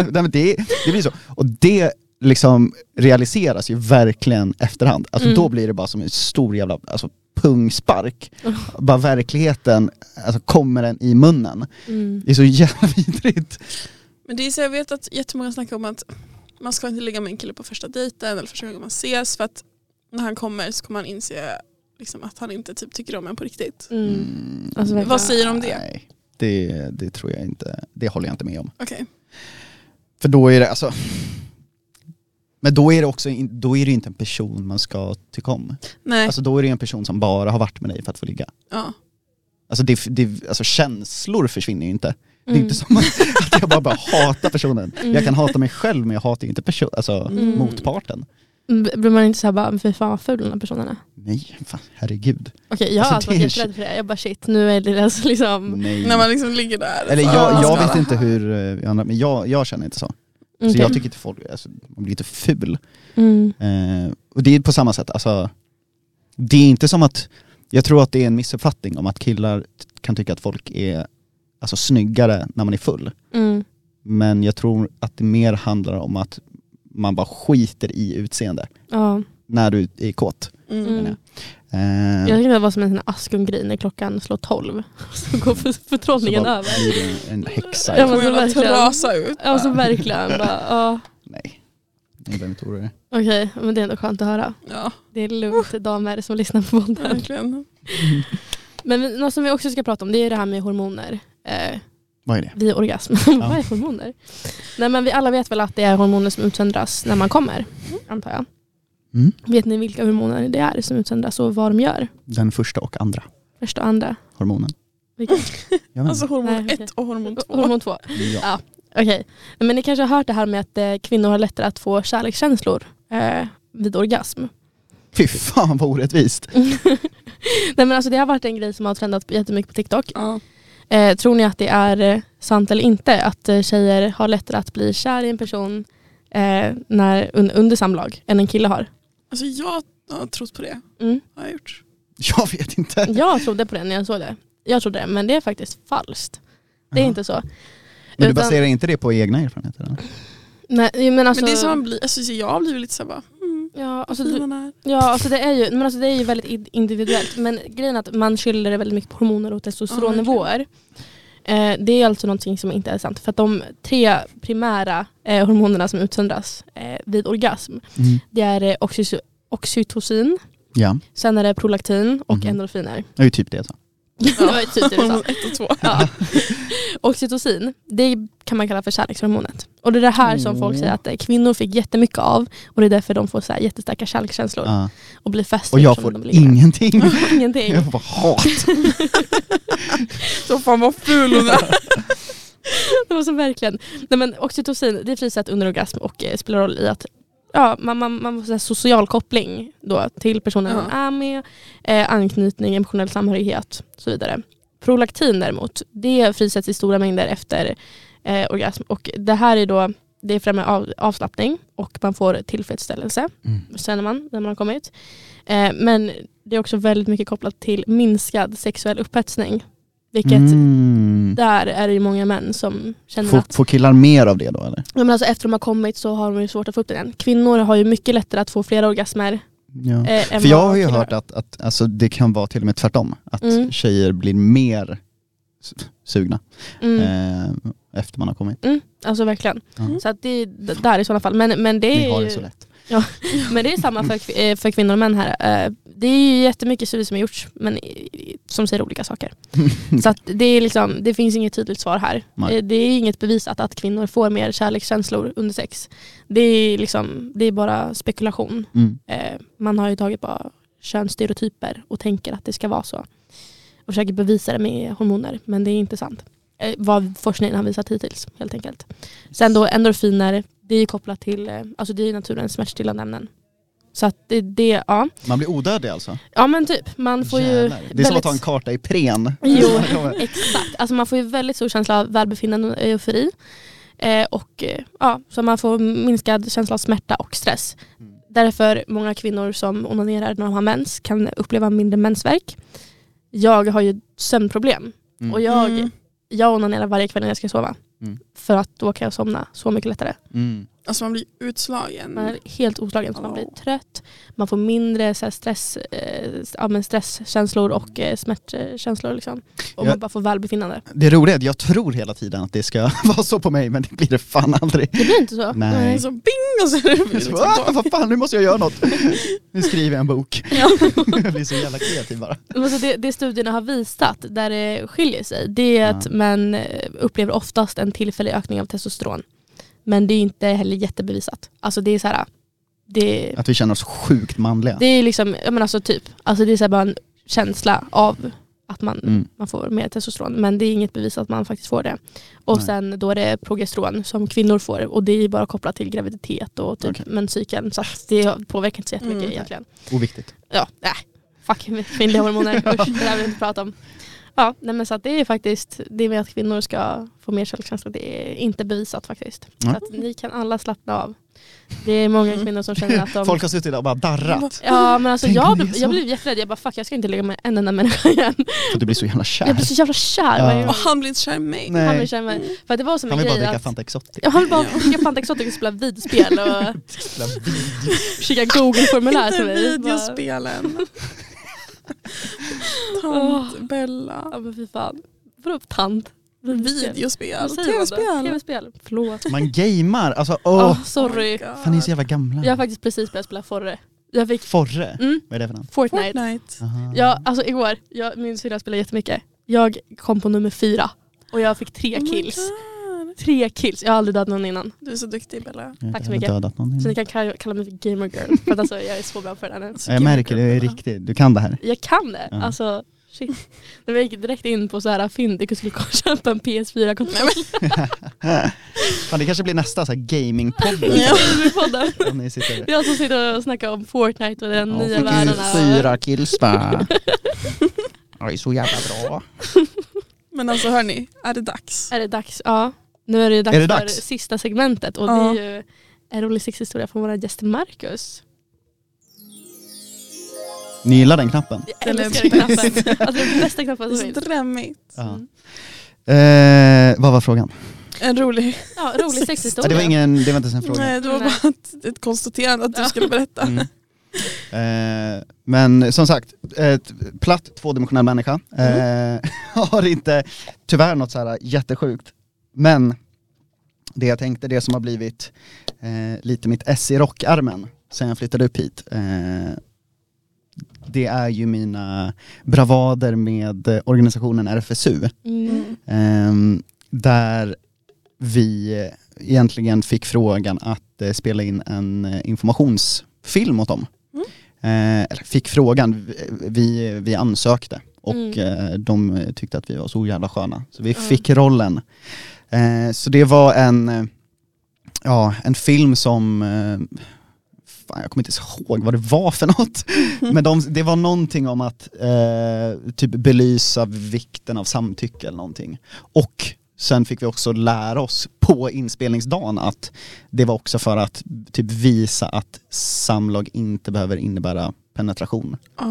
Nej, men det, det blir så. Och det liksom realiseras ju verkligen efterhand. Alltså Mm. då blir det bara som en stor jävla alltså, pungspark. Bara verkligheten alltså, kommer den i munnen. Mm. Det är så jävla vidrigt. Men det är så jag vet att jättemånga snackar om att man ska inte ligga med en kille på första dejten eller första gången man ses för att när han kommer så kommer han inse liksom, att han inte typ, tycker om en på riktigt. Mm. Alltså, verkligen. Vad säger du om det? Nej, det, det tror jag inte. Det håller jag inte med om. Okej. För då är det alltså... Men då är det också in, då är det inte en person man ska tycka om. Nej. Alltså då är det en person som bara har varit med dig för att få ligga. ja. Alltså, det, det, alltså känslor försvinner ju inte. Det är Mm. inte som att jag bara, bara hatar personen. Mm. Jag kan hata mig själv men jag hatar ju inte person, alltså, Mm. motparten. B- Blir man inte såhär bara, fy fan vad ful den här personen är. Nej, fan, herregud. Okej jag har Alltså, alltid varit det är- Mm. jätterädd för det. Jag bara shit, nu är det alltså liksom. Nej. När man liksom ligger där. Alltså, Eller så- jag, jag Ja. vet inte hur eh, andra, men jag, jag känner inte så. Okej. Så jag tycker inte folk, alltså, man blir lite ful. typ." Mm. Eh, och det är på samma sätt, alltså, det är inte som att, jag tror att det är en missuppfattning om att killar t- kan tycka att folk är alltså, snyggare när man är full. Mm. Men jag tror att det mer handlar om att man bara skiter i utseende Ja. när du är kåt. Mm. Mm. Eh, Jag tänkte att det var som en sån här askungrej när klockan slår tolv. Så går för- förtrollningen så bara över. blir det en, en häxa. Ja, Kommer men- jag bara verkligen. trasa ut. Ja så Alltså, verkligen. Bara, ja. Nej, jag behöver inte oroa dig. Okej, men det är ändå skönt att höra. Ja, Det är lugnt damer som lyssnar på podden. Mm. verkligen. Men vi- något som vi också ska prata om det är det här med hormoner. Eh, Vad är det? vid orgasm. Vad är hormoner? Nej men vi alla vet väl att det är hormoner som utsöndras när man kommer. Antar jag. Mm. Vet ni vilka hormoner det är som utsöndras och vad de gör? Den första och andra Första och andra. hormonen. Vilka? Jag vet Alltså hormon Nej, 1 och hormon 2. Hormon två. inte. ja. Okej. Nej, Men ni kanske har hört det här med att eh, kvinnor har lättare att få kärlekskänslor eh, vid orgasm. Fy fan vad orättvist. Nej men alltså det har varit en grej som har trendat jättemycket på TikTok. Ja. Eh, tror ni att det är eh, sant eller inte att eh, tjejer har lättare att bli kär i en person eh, när, un, under samlag än en kille har? Alltså jag har trott på det. Mm. Har jag gjort. Jag vet inte. Jag trodde på det när jag såg det. Jag trodde det, men det är faktiskt falskt. Det är Jaha. inte så. Men du utan- baserar inte det på egna erfarenheter? Eller? Nej, men alltså, Men det är som man blir, alltså, så jag har blivit lite såhär bara, mm, ja, alltså, alltså, du, den här. ja, alltså det är ju, men alltså det är ju väldigt id- individuellt. Men grejen är att man skyller det väldigt mycket på hormoner och testosteronnivåer. Eh, det är alltså någonting som inte är sant. För att de tre primära eh, hormonerna som utsöndras eh, vid orgasm, det är eh, oxyso- oxytocin, Ja, sen är det prolaktin och Mhm. endorfiner. det är ju typ det jag sa. det var ju typ det du sa. Hormon 1 och 2. Ja. Oxytocin, det kan man kalla för kärlekshormonet. Och det är det här som folk Mm. säger att eh, kvinnor fick jättemycket av och det är därför de får så här jättestarka kärlekskänslor Ja. och blir fäst Och jag eftersom får de ligger med. ingenting. ingenting. Jag får bara hat. Så fan vad ful hon är. Det var så verkligen. Nej, men oxytocin det frisätts under orgasm och eh, spelar roll i att ja, man, man, man får så här social koppling då, till personen Ja. man är med, eh, anknytning, emotionell samhörighet och så vidare. Prolaktin däremot, det frisätts i stora mängder efter eh, orgasm och det här är då det främjar av, avslappning och man får tillfredsställelse, känner man när man har kommit. Eh, men det är också väldigt mycket kopplat till minskad sexuell upphetsning. Vilket Mm. där är det ju många män som känner Får, att får killar mer av det då eller? ja, men alltså efter de har kommit så har de ju svårt att få upp den igen. Kvinnor har ju mycket lättare att få flera orgasmer. Ja. Eh, än Mm. För jag vad har ju killar hört att, att alltså, det kan vara till och med tvärtom. Att Mm. tjejer blir mer s- sugna Mm. eh, efter man har kommit. Mm. Alltså verkligen. Ja. Så att det är d- där i sådana fall. Men, men det Ni är har ju... det så lätt. Men det är samma för, kvi- eh, för kvinnor och män här. Eh, Det är ju jättemycket studier som har gjorts men i- som säger olika saker. Mm. Så att det, är liksom, det finns inget tydligt svar här. Nej. Eh, Det är inget bevisat att kvinnor får mer kärlekskänslor under sex. Det är, liksom, det är bara spekulation. Mm. Eh, Man har ju tagit bara könsstereotyper och tänker att det ska vara så. Och försöker bevisa det med hormoner men det är inte sant. Eh, Vad forskningen har visat hittills helt enkelt. Sen då endorfiner, det är ju kopplat till, eh, alltså det är ju naturens smärtstillande ämnen. Så att det, det ja. Man blir odödlig alltså? Ja men typ, man får ju Jävlar. Det är som att väldigt- ta en karta i pren. Jo, exakt. Alltså man får ju väldigt stor känsla av välbefinnande och eufori. Eh, och eh, ja, så man får minskad känsla av smärta och stress. Mm. Därför många kvinnor som onanerar när de har mens kan uppleva mindre mensvärk. Jag har ju sömnproblem Mm. och jag, Mm. jag onanerar varje kväll när jag ska sova. Mm. För att då kan jag somna så mycket lättare. Mm. Alltså man blir utslagen. Man är helt oslagen så man blir Oh. trött. Man får mindre så här, stress, eh, ja, men stresskänslor och eh, smärtkänslor. Liksom. Och Ja. man bara får välbefinnande. Det roliga är att jag tror hela tiden att det ska vara så på mig men det blir det fan aldrig. Det blir inte så. Nej. Och Så Alltså, bing och så är det Jag så, "Ah, vad fan nu måste jag göra något. Nu skriver jag en bok. Ja. Jag blir så jävla kreativ bara. Men Alltså det, det studierna har visat där det skiljer sig det är att Ja. män eh, upplever oftast en tillfällig ökning av testosteron. Men det är inte heller jättebevisat. Alltså det är så här, det, Att vi känner oss sjukt manliga. det är liksom, ja men alltså typ, alltså det är så här bara en känsla av att man, Mm. man får mer testosteron. Men det är inget bevis att man faktiskt får det. Och Nej. sen då är det progesteron som kvinnor får och det är bara kopplat till graviditet och typ Okej. menscykeln. Så att det påverkar inte så jättemycket Mm. egentligen. Oviktigt. ja, nej. Fuck kvinnliga hormoner, usch, det där vill vi inte prata om. Ja, nej men så att det är faktiskt, det med att kvinnor ska få mer självkänsla, det är inte bevisat faktiskt. Nej. Så att ni kan alla slappna av. Det är många kvinnor som känner att de... Mm. Folk har suttit där och bara darrat. Ja men alltså Tänk om jag, det är blev- så. jag blev jätterädd, jag bara fuck jag ska inte ligga med en enda människa igen. För du blir så jävla Jag kär. blir så jävla kär Ja. varje gång. Och han blir inte kär i mig. Nej. Han vill känna mig. För att det var som Han en vill bara grej dricka att... Fanta Exotic. Ja, han vill bara dricka Fanta Exotic och typ spela videospel och Jävla video. skicka google-formulär Inte till mig. Bara- videospelen. Tant Bella. Ja men fy fan. Vadå tant? Videospel. Vad säger man då? Tv-spel. Tv-spel. Förlåt. Man gamer, alltså åh. Åh, sorry. Oh my god. Fan ni är så jävla gamla. Jag har faktiskt precis börjat spela Forre. Jag fick Forre, mm, vad är det för namn? Fortnite. Fortnite. Aha. Jag, alltså igår, jag, min syrra spelade jättemycket. Jag kom på nummer fyra och jag fick tre Oh my kills. god. Tre kills. Jag har aldrig dödat någon innan. Du är så duktig Bella. Jag har tack så heller mycket. dödat någon Så innan. ni kan kalla, kalla mig för gamer girl. För att alltså, jag är så bra på det här nu. Så Ja, Jag kul. märker, du är riktig, du kan det här. Jag kan det. Ja. Alltså shit. När jag gick direkt in på så här Fyndik och skulle köpa en PS4-kontroll. Fan, det kanske blir nästa så här gamingpodden. Ja. podden. Om ni sitter Det är jag som sitter och snackar om Fortnite och den Ja, nya fick världen. ju och- Fyra kills där. Ja, Det är så jävla bra. Men alltså hörni, är det dags? Är det dags? Ja. Nu är det dags Är det för dags? sista segmentet och Ja. det är ju en rolig sexhistoria från våra gäster Marcus. Ni gillar den knappen? Jag Den är älskar den knappen. Alltså det är den bästa knappen som finns. Drömmigt. Ja. Mm. Eh, vad var frågan? En rolig. Ja, rolig Ja, sexhistoria. det, var ingen, det var inte ens en fråga. Nej, det var Nej. bara ett, ett konstaterande att du Ja. skulle berätta. Mm. Eh, men som sagt, ett platt tvådimensionell människa eh, har inte tyvärr något så här jättesjukt. Men det jag tänkte, det som har blivit eh, lite mitt S i rockarmen sen jag flyttade upp hit. Eh, det är ju mina bravader med eh, organisationen RFSU. Mm. Ehm, där vi egentligen fick frågan att eh, spela in en eh, informationsfilm åt dem. Mm. Eh, eller fick frågan, Vi- vi, vi ansökte och Mm. eh, de tyckte att vi var så jävla sköna. Så vi Mm. fick rollen. Eh, så det var en, eh, ja, en film som eh, Fan, jag kommer inte ens ihåg vad det var för något. Men de, det var någonting om att eh, typ belysa vikten av samtycke eller någonting. Och sen fick vi också lära oss på inspelningsdagen att det var också för att typ visa att samlag inte behöver innebära penetration. Ah.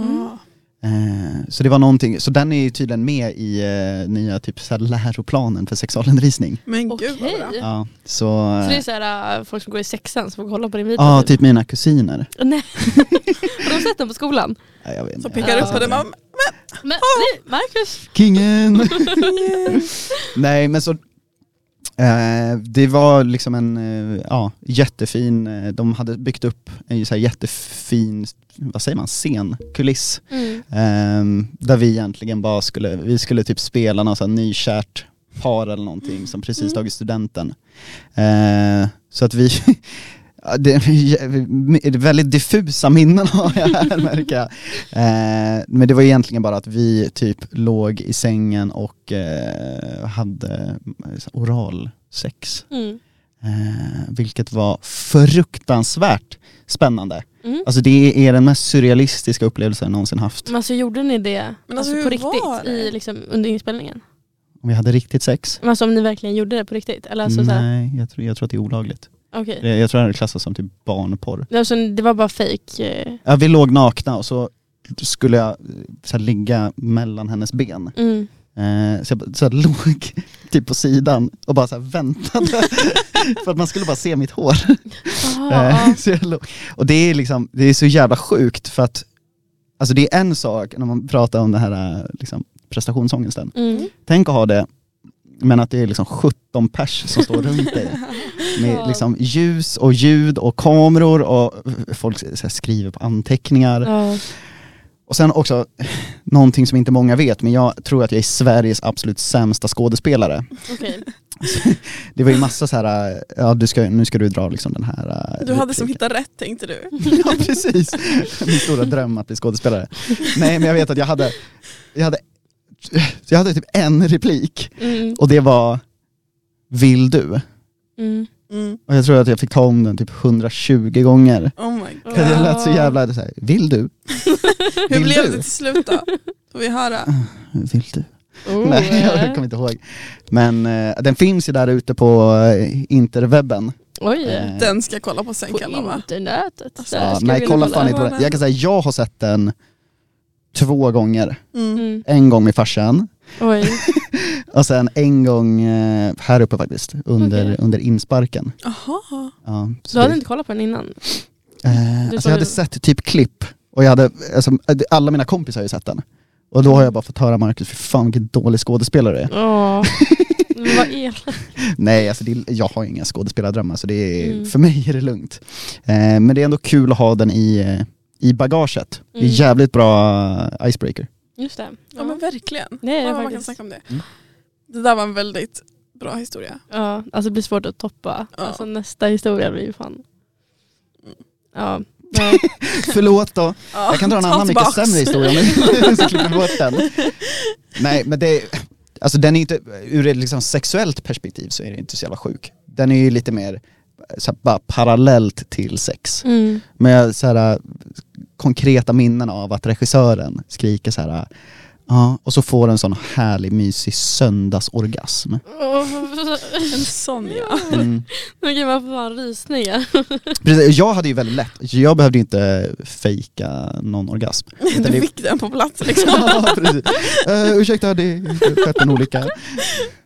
Eh, så det var någonting, så den är ju tydligen med i eh, nya typ så här läroplanen för sexualundervisning. Men Okej. gud vad bra. Ja, så... Mm. eh, Så det är så här, äh, folk som går i sexan som får kolla på din video. Ja, typ mina kusiner. Nej. Har de sett den på skolan? Ja, jag vet inte. Så pekar Ja. upp på det. Mamma. Ah! Men nej, Marcus. Kingen! Nej men så Eh, det var liksom en eh, ja, jättefin, eh, de hade byggt upp en så här jättefin, vad säger man, scen, kuliss Mm. Ehm, där vi egentligen bara skulle, vi skulle typ spela något så här nykärt par eller någonting som precis Mm. tagit studenten. Ehm, så att vi, ja, det är väldigt diffusa minnen har jag här märker jag. Ehm, men det var egentligen bara att vi typ låg i sängen och eh, hade oral sex. Ehm, Mm. vilket var fruktansvärt spännande. Mm. Alltså det är den mest surrealistiska upplevelsen jag någonsin haft. Men alltså gjorde ni det Men alltså, alltså, hur på riktigt var det? i, liksom, under inspelningen? Om vi hade riktigt sex? Men alltså om ni verkligen gjorde det på riktigt? Eller alltså, så här, Nej, jag tror, jag tror att det är olagligt. okej. Jag, jag tror att det klassas som typ barnporr. Det, var så- det var bara fejk? eh, Ja, vi låg nakna och så skulle jag eh, så här, ligga mellan hennes ben. Mm. Eh, så jag bara- så här, låg typ på sidan och bara så här, väntade. för att man skulle bara se mitt hår. Jaha, Eh, ja. så jag låg- och det är liksom, det är så jävla sjukt för att Alltså det är en sak när man pratar om den här eh, liksom, prestationsångesten. Mm. Tänk att ha det, men att det är liksom 17 pers som står runt dig. Ja. med liksom ljus och ljud och kameror och folk så här skriver på anteckningar. Ja. Och sen också, någonting som inte många vet, men jag tror att jag är Sveriges absolut sämsta skådespelare. Okej. Det var ju massa så här, äh, ja du ska, nu ska du dra liksom den här... äh, Du hade som repliken. hittat rätt tänkte du. Ja precis, min stora dröm att bli skådespelare. Nej men jag vet att jag hade, jag hade, jag hade typ en replik Mm. och det var Vill du? Mm. Mm. Och jag tror att jag fick ta om den typ 120 gånger. Oh my god. För det lät så jävla såhär, vill du? Hur Vill blev du? det till slut då? Får vi höra? Mm. Vill du? Oh, Nej, jag eh. kommer inte ihåg. Men eh, den finns ju där ute på eh, interwebben. Oj, Eh, Den ska jag kolla på sen på Kalle va? internetet. Alltså, Där ja, ska nej, vi kolla nog fan inte på kolla. den. Jag kan säga, jag har sett den två gånger. Mm. Mm. En gång med farsan Oj. och sen en gång eh, här uppe faktiskt, under, Okej. under insparken. Aha. Ja, så Du hade det- inte kollat på den innan? Eh, Du alltså sa jag hade du- sett typ klipp och jag hade, alltså, alla mina kompisar har ju sett den. Och då har jag bara fått höra Marcus, fy fan vilken dålig skådespelare du är. Ja. Men Vad elakt. Nej, alltså det, jag har inga skådespelardrömmar så det är, Mm. för mig är det lugnt. Eh, men det är ändå kul att ha den i, eh, i bagaget. Det är Mm. jävligt bra eh, icebreaker. Just det. Ja men verkligen. Det är Ja, det man kan faktiskt. snacka om det. Mm. Det där var en väldigt bra historia. Ja, alltså det blir svårt att toppa. Ja. Alltså nästa historia blir ju fan... Mm. Ja. Nej. Förlåt då, Ja, jag kan dra en ta annan mycket tillbaks. sämre historia men så klipper vi bort den. Nej men det, alltså den är inte, ur ett liksom sexuellt perspektiv så är det inte så jävla sjuk. Den är ju lite mer eh, så här, bara parallellt till sex. Mm. Men jag så här, äh, konkreta minnen av att regissören skriker så här äh, Ja, och så får en sån härlig mysig söndagsorgasm. En sån ja. Mm. Nu kan man få fan rysningar. Precis, jag hade ju väldigt lätt, jag behövde ju inte fejka någon orgasm. Utan Du det- fick den på plats liksom. ja, precis. Eh, ursäkta, det skett en olycka.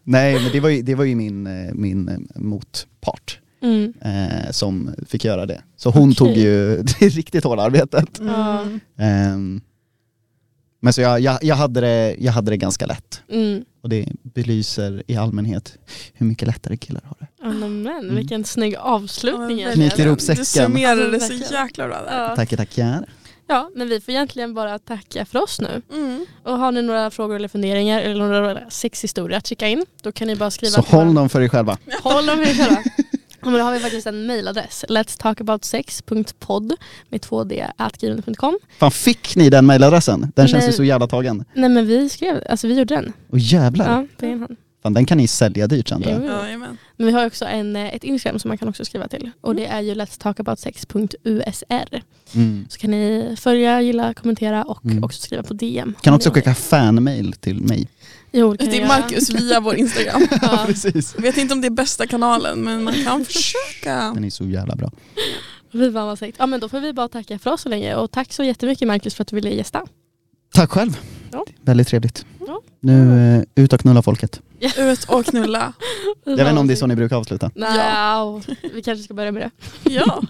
Nej, men det var ju, det var ju min, eh, min eh, motpart Mm. eh, som fick göra det. Så hon Okej. tog ju det riktigt hårda arbetet. Mm. Ehm, men så jag, jag, jag, hade det, jag hade det ganska lätt. Mm. Och det belyser i allmänhet hur mycket lättare killar har det. Ja, men, Mm. men vilken snygg Ja, men avslutning. verkligen. egentligen. Knyter ihop säcken. Du summerade det så Verkligen. jäkla bra där. Ja. Tackar, tackar. ja, men vi får egentligen bara tacka för oss nu. Mm. Och har ni några frågor eller funderingar eller några sexhistorier att skicka in, då kan ni bara skriva Så till vår- håll dem för er själva. Håll dem för er själva. Ja, Men då har vi faktiskt en mejladress, letstalkaboutsex.podd med 2d at gmail.com. Fan fick ni den mejladressen? Den känns ju Nej. så jävla tagen. Nej men vi skrev, alltså vi gjorde den. Och jävlar, Ja, på egen hand. fan, den kan ni sälja dyrt sen. tror jag. Jo. Ja, jajamän. Men vi har också en, eh, ett Instagram som man kan också skriva till och det är ju letstalkaboutsex.usr. Mm. Så kan ni följa, gilla, kommentera och Mm. också skriva på DM. Kan om också ni vill. skicka fanmail till mig. Jo, det kan Det är jag Marcus via vår Instagram. göra. Ja. Precis. Vet inte om det är bästa kanalen men man kan försöka. Den är så jävla bra. Vi bara var segt. Ja men då får vi bara tacka för oss så länge och tack så jättemycket Marcus för att du ville gästa. Tack själv. Ja. Väldigt trevligt. Ja. Nu eh, ut och knulla folket. Ut och knulla. Jag vet inte om det är så ni brukar avsluta. Nej, vi kanske ska börja med det. Ja.